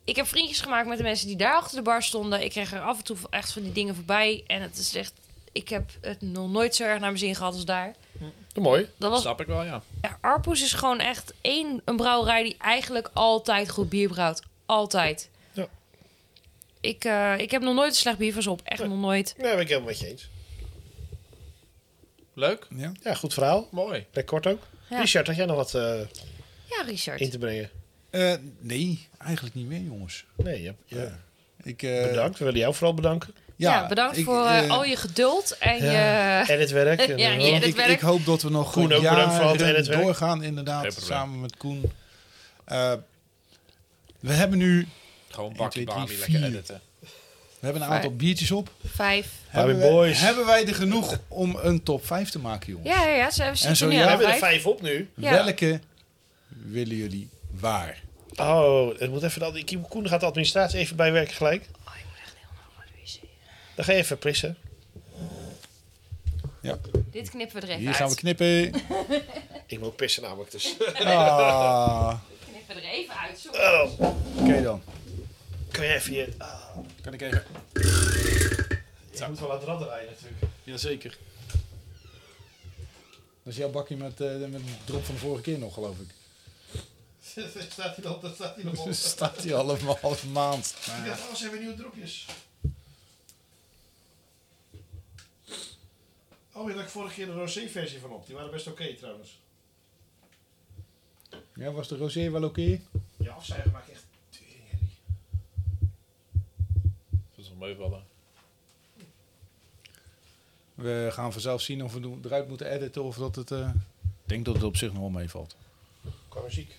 S3: Ik heb vriendjes gemaakt met de mensen die daar achter de bar stonden. Ik kreeg er af en toe echt van die dingen voorbij. En het is echt. Ik heb het nog nooit zo erg naar mijn zin gehad als daar.
S1: Mooi.
S3: Dat was
S2: Snap ik wel, ja.
S3: ja, Arpoes is gewoon echt één een brouwerij die eigenlijk altijd goed bier brouwt. Altijd.
S1: Ja.
S3: Ik, eh, ik heb nog nooit een slecht bier van ze op. Echt nog nooit.
S1: Nee, ben ik helemaal met je eens.
S2: Leuk,
S4: Ja.
S1: Ja, goed verhaal.
S2: mooi.
S1: Lekker kort ook.
S3: Ja.
S1: Richard, had jij nog wat eh,
S3: Ja, Richard.
S1: in te brengen?
S4: Eh, nee, eigenlijk niet meer, jongens.
S1: Nee, ja. ja.
S4: Ja. Ik, eh,
S1: Bedankt. We willen jou vooral bedanken.
S3: ja, bedankt
S4: ik,
S3: voor eh,
S4: eh,
S3: al je geduld en
S1: ja.
S3: je...
S1: En het werk. En,
S3: Ja,
S1: eh,
S3: ja.
S4: Want ik,
S3: editwerk.
S4: ik hoop dat we nog
S1: Koen ook
S4: jaren
S1: bedankt voor altijd editwerk.
S4: doorgaan, inderdaad,
S2: Geen probleem.
S4: samen met Koen. Eh, we hebben nu
S2: Gewoon een bakje
S4: twee, drie,
S2: Bali, lekker
S4: vier.
S2: editen.
S4: we hebben een aantal
S3: Fijn.
S4: biertjes op.
S3: Vijf.
S1: Harry
S4: hebben, wij-
S1: Boys.
S4: hebben wij er genoeg om een top 5 te maken, jongens?
S3: Ja, ja, ja. Ze hebben
S4: zo,
S3: zitten nu
S4: ja,
S1: We
S3: aan
S1: hebben er
S3: vijf.
S1: vijf op nu.
S3: Ja.
S4: Welke willen jullie waar?
S1: Oh, het moet even dat. Ik- Koen gaat de administratie even bijwerken gelijk.
S3: Oh, ik moet echt heel lang naar de wc.
S1: Dan ga je even prissen.
S3: Dit knippen we er even
S4: Hier
S3: uit.
S4: gaan we knippen.
S1: Ik moet ook pissen namelijk. Dus.
S4: Ah,
S3: knippen we er even uit. Zo.
S4: Eh.
S1: Oh,
S4: Oké dan.
S1: kun je even je. Ah,
S4: Kan ik even?
S1: je moet wel aan het radden rijden natuurlijk.
S4: Jazeker. Dat is jouw bakje met, eh, met de drop van de vorige keer nog, geloof ik.
S1: staat hij nog? Dat staat hij nog op.
S4: Staat hier al een half maand.
S1: Ik dacht, oh, ze hebben nieuwe dropjes. Oh, ja, dat ik vorige keer de rosé-versie van op. Die waren best oké trouwens.
S4: Ja, was de rosé wel oké?
S1: Je afzuigen maakt echt tering herrie.
S2: Dat is wel meevallen.
S4: We gaan vanzelf zien of we doen- eruit moeten editen of dat het... eh, Ik denk dat het op zich nog wel meevalt.
S1: Qua muziek.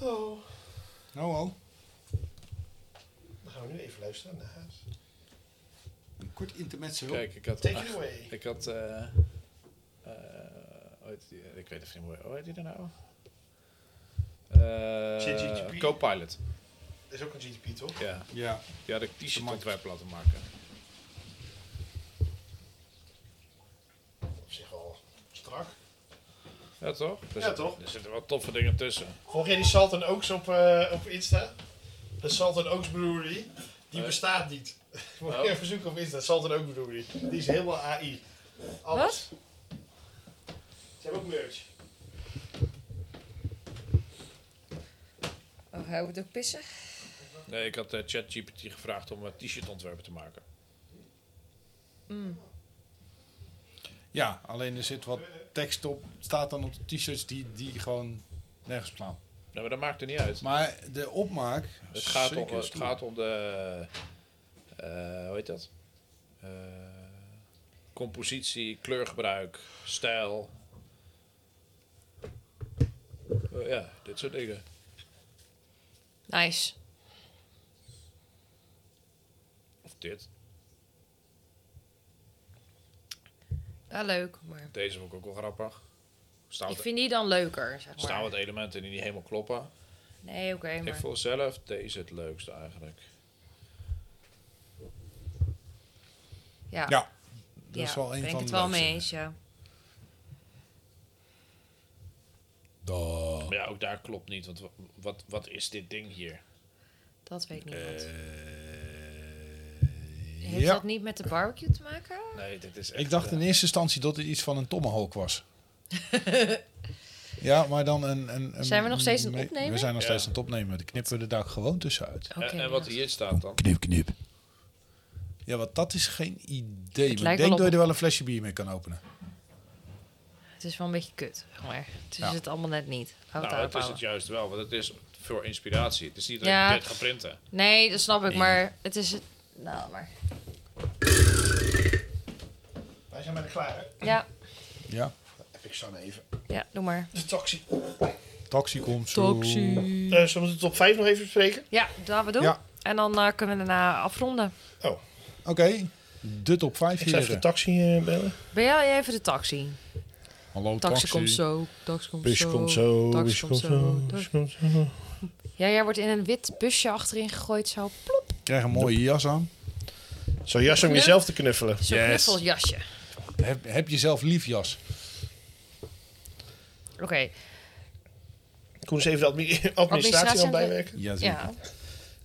S1: Oh,
S4: Nou al.
S1: dan gaan we nu even luisteren naar huis.
S4: Een kort intermezzo.
S2: Kijk, ik had...
S1: Take it away.
S2: Ik had... eh, eh, hoe heet die? eh, ik weet even niet meer. Hoe heet die er nou?
S1: ChatGPT?
S2: Eh Copilot.
S1: Dat is ook een GTP, toch?
S2: Ja,
S4: Ja.
S2: die had ik t-shirt
S4: Maakt-
S2: ontwerp laten maken.
S1: Op zich al strak.
S2: Ja, toch? Er
S1: Ja,
S2: zitten-
S1: toch?
S2: Er zitten wel toffe dingen tussen.
S1: Volg jij die Salt en Oaks op, eh, op Insta? De Salt en Oaks Brewery. Die
S2: Nee.
S1: bestaat niet. Moet
S2: Oh.
S1: je even zoeken op Insta. Salt en Oaks Brewery. Die is helemaal AI. Alles. Ze hebben ook merch.
S3: Oh, hij moet ook pissen.
S2: Nee, ik had eh, ChatGPT gevraagd om een t-shirt ontwerpen te maken.
S4: Ja, alleen er zit wat tekst op. Staat dan op de t-shirts die, die gewoon nergens slaan.
S2: Nou, maar dat maakt er niet uit.
S4: Maar de opmaak...
S2: Het gaat, om,
S4: zeker
S2: het
S4: stoer.
S2: gaat om de. eh, hoe heet dat? Eh, compositie, kleurgebruik, stijl. Eh, ja, dit soort dingen.
S3: Nice.
S2: Of dit.
S3: Ja, leuk. Maar
S2: Deze vond ik ook wel grappig. Staan
S3: ik
S2: wat,
S3: vind die dan leuker, zeg
S2: staan
S3: maar.
S2: wat elementen die niet helemaal kloppen.
S3: Nee, oké,
S2: Ik
S3: maar...
S2: vond zelf deze het leukste eigenlijk.
S3: Ja.
S4: Ja, dat
S3: Ja,
S4: is wel een
S3: ben
S4: van
S3: ik het
S4: de
S3: wel mee
S4: leukste.
S3: eens, ja.
S4: Da.
S2: Maar ja, ook daar klopt niet. Want wa- wat, wat is dit ding hier?
S3: Dat weet niemand.
S4: Eh,
S3: Heeft
S4: ja.
S3: dat niet met de barbecue te maken?
S2: Nee, dit is echt. eh,
S4: Ik dacht in eerste instantie dat het iets van een tomahawk was. ja, maar dan een, een, een-
S3: Zijn we nog steeds aan het
S4: me-
S3: opnemen?
S4: We zijn nog
S2: Ja.
S4: steeds aan het opnemen. Dan knippen we er daar gewoon tussenuit.
S2: En,
S3: Oké,
S2: en wat
S3: ja.
S2: hier staat dan?
S4: Knip, knip. Ja, want dat is geen idee.
S3: lijkt
S4: Maar ik
S3: wel
S4: denk
S3: op-
S4: dat je er wel een flesje bier mee kan openen.
S3: Het is wel een beetje kut, zeg maar. Het is
S4: Ja.
S3: het allemaal net niet. Houd
S2: Nou,
S3: het
S2: dat is
S3: daarop
S2: het juist wel, want het is voor inspiratie. Het is niet dat
S3: Ja.
S2: ik dit ga printen.
S3: Nee, dat snap ik, maar het is het... Nou, maar...
S1: klaar.
S3: Ja,
S4: Ja.
S1: Heb ik zo even.
S3: ja, doe maar.
S1: De taxi.
S4: Taxi komt zo.
S5: Toxie.
S1: Eh, zullen we de top 5 nog even bespreken?
S3: Ja, dat gaan we doen.
S4: Ja.
S3: En dan eh, kunnen we daarna afronden.
S4: Oké, de top 5
S1: Ik zal even de
S4: hier.
S1: taxi eh, bellen.
S3: Ben jij even de taxi?
S4: Hallo
S3: Taxi,
S4: taxi.
S5: Komt zo, taxi komt
S1: Bus
S5: zo.
S1: komt zo,
S5: taxi
S1: bus
S5: komt
S1: komt
S5: zo,
S1: zo,
S5: taxi-
S1: bus komt zo.
S3: Ja, jij wordt in een wit busje achterin gegooid. Zo,
S4: Ik krijg een mooie jas aan.
S1: Zo jas om
S3: Knuff-
S1: jezelf te knuffelen.
S3: zo'n
S4: Yes.
S3: knuffeljasje.
S4: Heb, heb je zelf lief jas?
S3: Oké,
S1: Koen is even de admi- administratie aan
S3: Administratie
S1: het bijwerken.
S4: Jazeker.
S3: ja.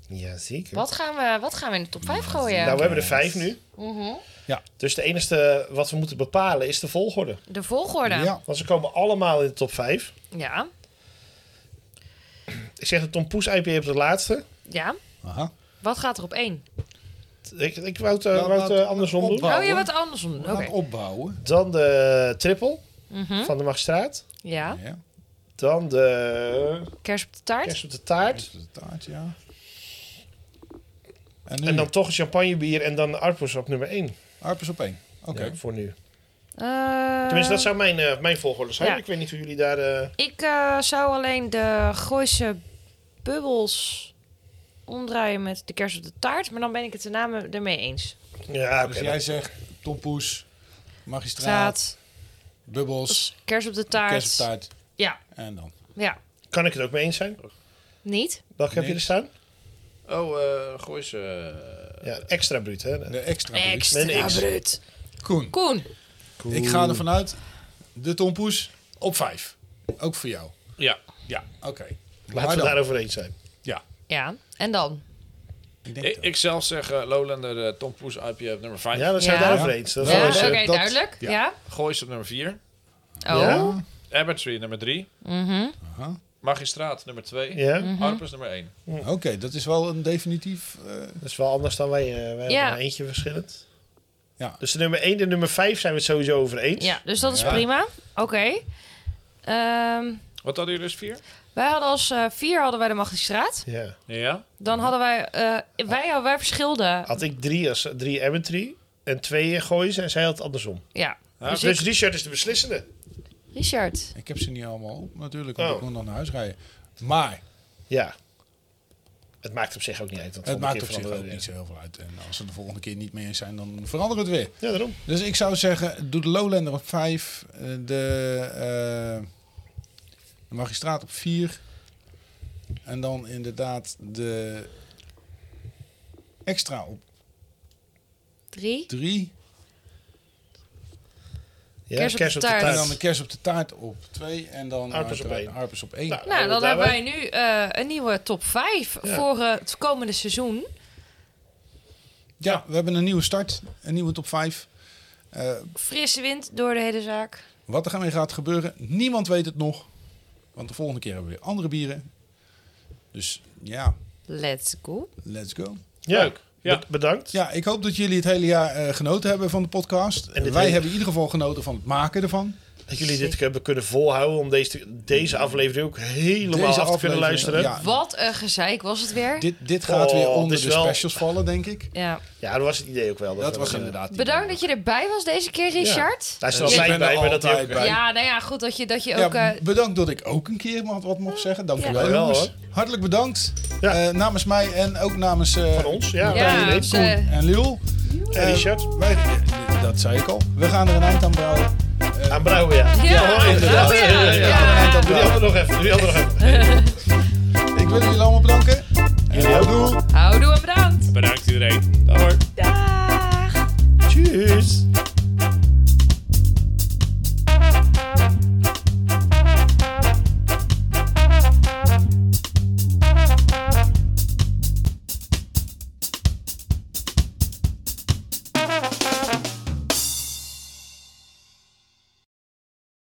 S1: Ja, zeker.
S3: Wat gaan, we, wat gaan we in de top 5 gooien?
S1: Nou, we hebben er vijf nu.
S4: Ja.
S1: Dus de enige wat we moeten bepalen is de volgorde.
S3: De volgorde.
S4: Ja.
S1: Want ze komen allemaal in de top 5.
S3: Ja.
S1: Ik zeg de Tom Poes IPA op de laatste.
S3: ja.
S4: Aha.
S3: Wat gaat er op één?
S1: Ik, ik wou het, eh,
S4: Nou,
S1: wou het, eh,
S4: laat-
S1: andersom doen.
S4: opbouw.
S3: Oh,
S4: Bouwen.
S3: je wat anders doen.
S4: We
S3: Oké.
S4: gaan het opbouwen.
S1: Dan de triple van de magistraat.
S3: Ja.
S4: Ja.
S1: Dan
S4: Eh,
S1: de
S3: Kers op de taart.
S1: kerst op de taart.
S4: Eerst de taart, ja. En nu?
S1: En dan toch een champagnebier en dan de Arpus op nummer 1.
S4: Arpers op één. Oké. Dus
S1: voor nu.
S3: Eh,
S1: Tenminste, dat zou mijn, eh, mijn volgorde zijn.
S3: ja.
S1: Ik weet niet hoe jullie daar... eh,
S3: Ik eh, zou alleen de Gooise bubbels omdraaien met de kers op de taart. Maar dan ben ik het de namen ermee eens.
S1: Ja, oké.
S4: Dus jij zegt Tom Poes, magistraat,
S3: Straat,
S4: bubbels,
S3: kers op de taart.
S4: kerstentaart
S3: Ja,
S4: en dan.
S3: ja.
S1: Kan ik het ook mee eens zijn?
S3: Niet?
S1: Welke heb je er
S4: Niks.
S1: staan?
S2: Oh, eh gooi ze.
S1: Ja, extra bruut, hè?
S4: De extra bier.
S1: Met
S3: Extra
S1: een X.
S3: bruut.
S4: Koen,
S3: Koen,
S4: ik ga ervan uit, de Tom Poes op vijf. Ook voor jou.
S2: Ja.
S4: Ja, oké. Maar
S1: Laten we
S4: dan.
S1: daarover eens zijn.
S4: Ja.
S3: ja. En dan?
S4: Ik denk
S2: Ik,
S4: dat.
S2: ik zelf zeg eh, Lowlander eh, Tom Poes IPA op nummer 5.
S1: Ja, dat zijn we
S3: Ja.
S1: daarover eens. Dat is
S3: Ja,
S1: wel
S4: Nou,
S1: eens,
S3: Oké,
S1: eh,
S4: dat-
S3: duidelijk. Ja.
S4: ja.
S2: Gooi ze op nummer 4.
S3: Oh.
S1: Ja.
S2: Abertree nummer 3.
S3: Mhm.
S4: Aha.
S2: Magistraat nummer 2.
S1: ja.
S2: Harpers nummer 1.
S4: Oké, dat is wel een definitief... eh,
S1: Dat is wel anders dan wij. eh, wij hebben
S3: Ja.
S1: maar eentje verschillend.
S4: Ja.
S1: Dus de nummer 1 en de nummer 5 zijn we het sowieso over eens.
S3: ja, dus dat is
S4: Ja.
S3: prima. Oké. Ehm,
S2: Wat hadden jullie dus 4?
S3: wij hadden als eh, vier hadden wij de magistraat.
S1: Ja.
S2: Ja.
S3: Dan hadden wij... eh, wij, wij verschilden.
S1: Had ik drie als drie Emmetry en twee gooien en zij had het andersom.
S3: Ja.
S2: Ja,
S3: Dus
S1: Dus
S3: ik-
S1: Richard is de beslissende.
S3: Richard.
S4: ik heb ze niet allemaal op natuurlijk, want
S1: Oh.
S4: ik moet nog naar huis rijden. Maar
S1: Ja. Het maakt op zich ook niet uit. want
S4: het
S1: volgende
S4: maakt
S1: keer
S4: op zich ook
S1: veranderen
S4: niet
S1: we weer.
S4: zo heel veel uit. En als ze de volgende keer niet meer eens zijn, dan veranderen we het weer.
S1: Ja, daarom.
S4: Dus ik zou zeggen, doe de Lowlander op 5, de, eh, de magistraat op 4. En dan inderdaad de extra op
S3: Drie.
S4: 3.
S1: Ja,
S3: Kers op de taart.
S4: En Nou, dan de kerst op de taart op 2. En dan
S1: Harpers op
S4: uiteraard
S1: één.
S4: Harpers op 1.
S1: Nou,
S3: Nou, dan
S1: daar
S3: hebben wij
S1: wij-
S3: nu eh, een nieuwe top 5
S1: Ja.
S3: voor eh, het komende seizoen.
S4: ja, we hebben een nieuwe start. Een nieuwe top Eh, 5.
S3: Frisse wind door de hele zaak.
S4: Wat er ermee gaat gebeuren, niemand weet het nog. Want de volgende keer hebben we weer andere bieren. Dus ja,
S3: Let's go.
S4: let's go.
S1: Ja.
S2: Leuk. Ja.
S1: Be- bedankt.
S4: Ja, ik hoop dat jullie het hele jaar eh, genoten hebben van de podcast.
S1: En dit
S4: Wij
S1: hele-
S4: hebben in ieder geval genoten van het maken ervan.
S1: Dat jullie dit hebben kunnen volhouden om deze, deze aflevering ook helemaal af te kunnen
S4: aflevering,
S1: luisteren. Ja.
S4: Ja,
S3: Wat een gezeik was het weer.
S4: Dit, dit gaat
S1: Oh,
S4: weer
S1: dit
S4: onder
S1: is
S4: de
S1: wel-
S4: specials vallen, denk ik.
S3: Ja.
S1: dat was het idee ook wel.
S4: Dat
S1: we
S4: was
S1: dat, eh,
S4: inderdaad.
S3: Bedankt dat je erbij was deze keer, Richard.
S1: Hij is er
S4: Ik
S1: altijd
S4: ben er
S1: bij, maar dat hij
S4: altijd
S1: ook...
S4: bij.
S3: Ja, nou ja, goed dat je, dat je
S4: Ja,
S3: ook... eh,
S4: bedankt dat ik ook een keer wat, wat mocht zeggen. Dank
S3: Ja.
S4: u wel,
S1: Dankjewel,
S4: jongens. Hartelijk bedankt.
S1: Ja.
S4: Eh, namens mij en ook namens eh,
S1: Van ons, ja.
S3: Ja,
S1: Martijn,
S3: dus,
S1: Koen
S3: eh,
S4: en Liel. Eh,
S1: en Richard.
S4: Wij, dat zei ik al. We gaan er een eind aan brouwen.
S1: Aan Brouwen, ja.
S3: Ja,
S1: inderdaad.
S3: oh ja, ja.
S1: Doe die andere nog even. Doe die andere nog even.
S4: Ik wil jullie allemaal bedanken.
S1: Jullie ook.
S4: Doei.
S3: Houdoe en bedankt.
S2: Bedankt iedereen. Dag hoor.
S3: Daag.
S1: Tjus.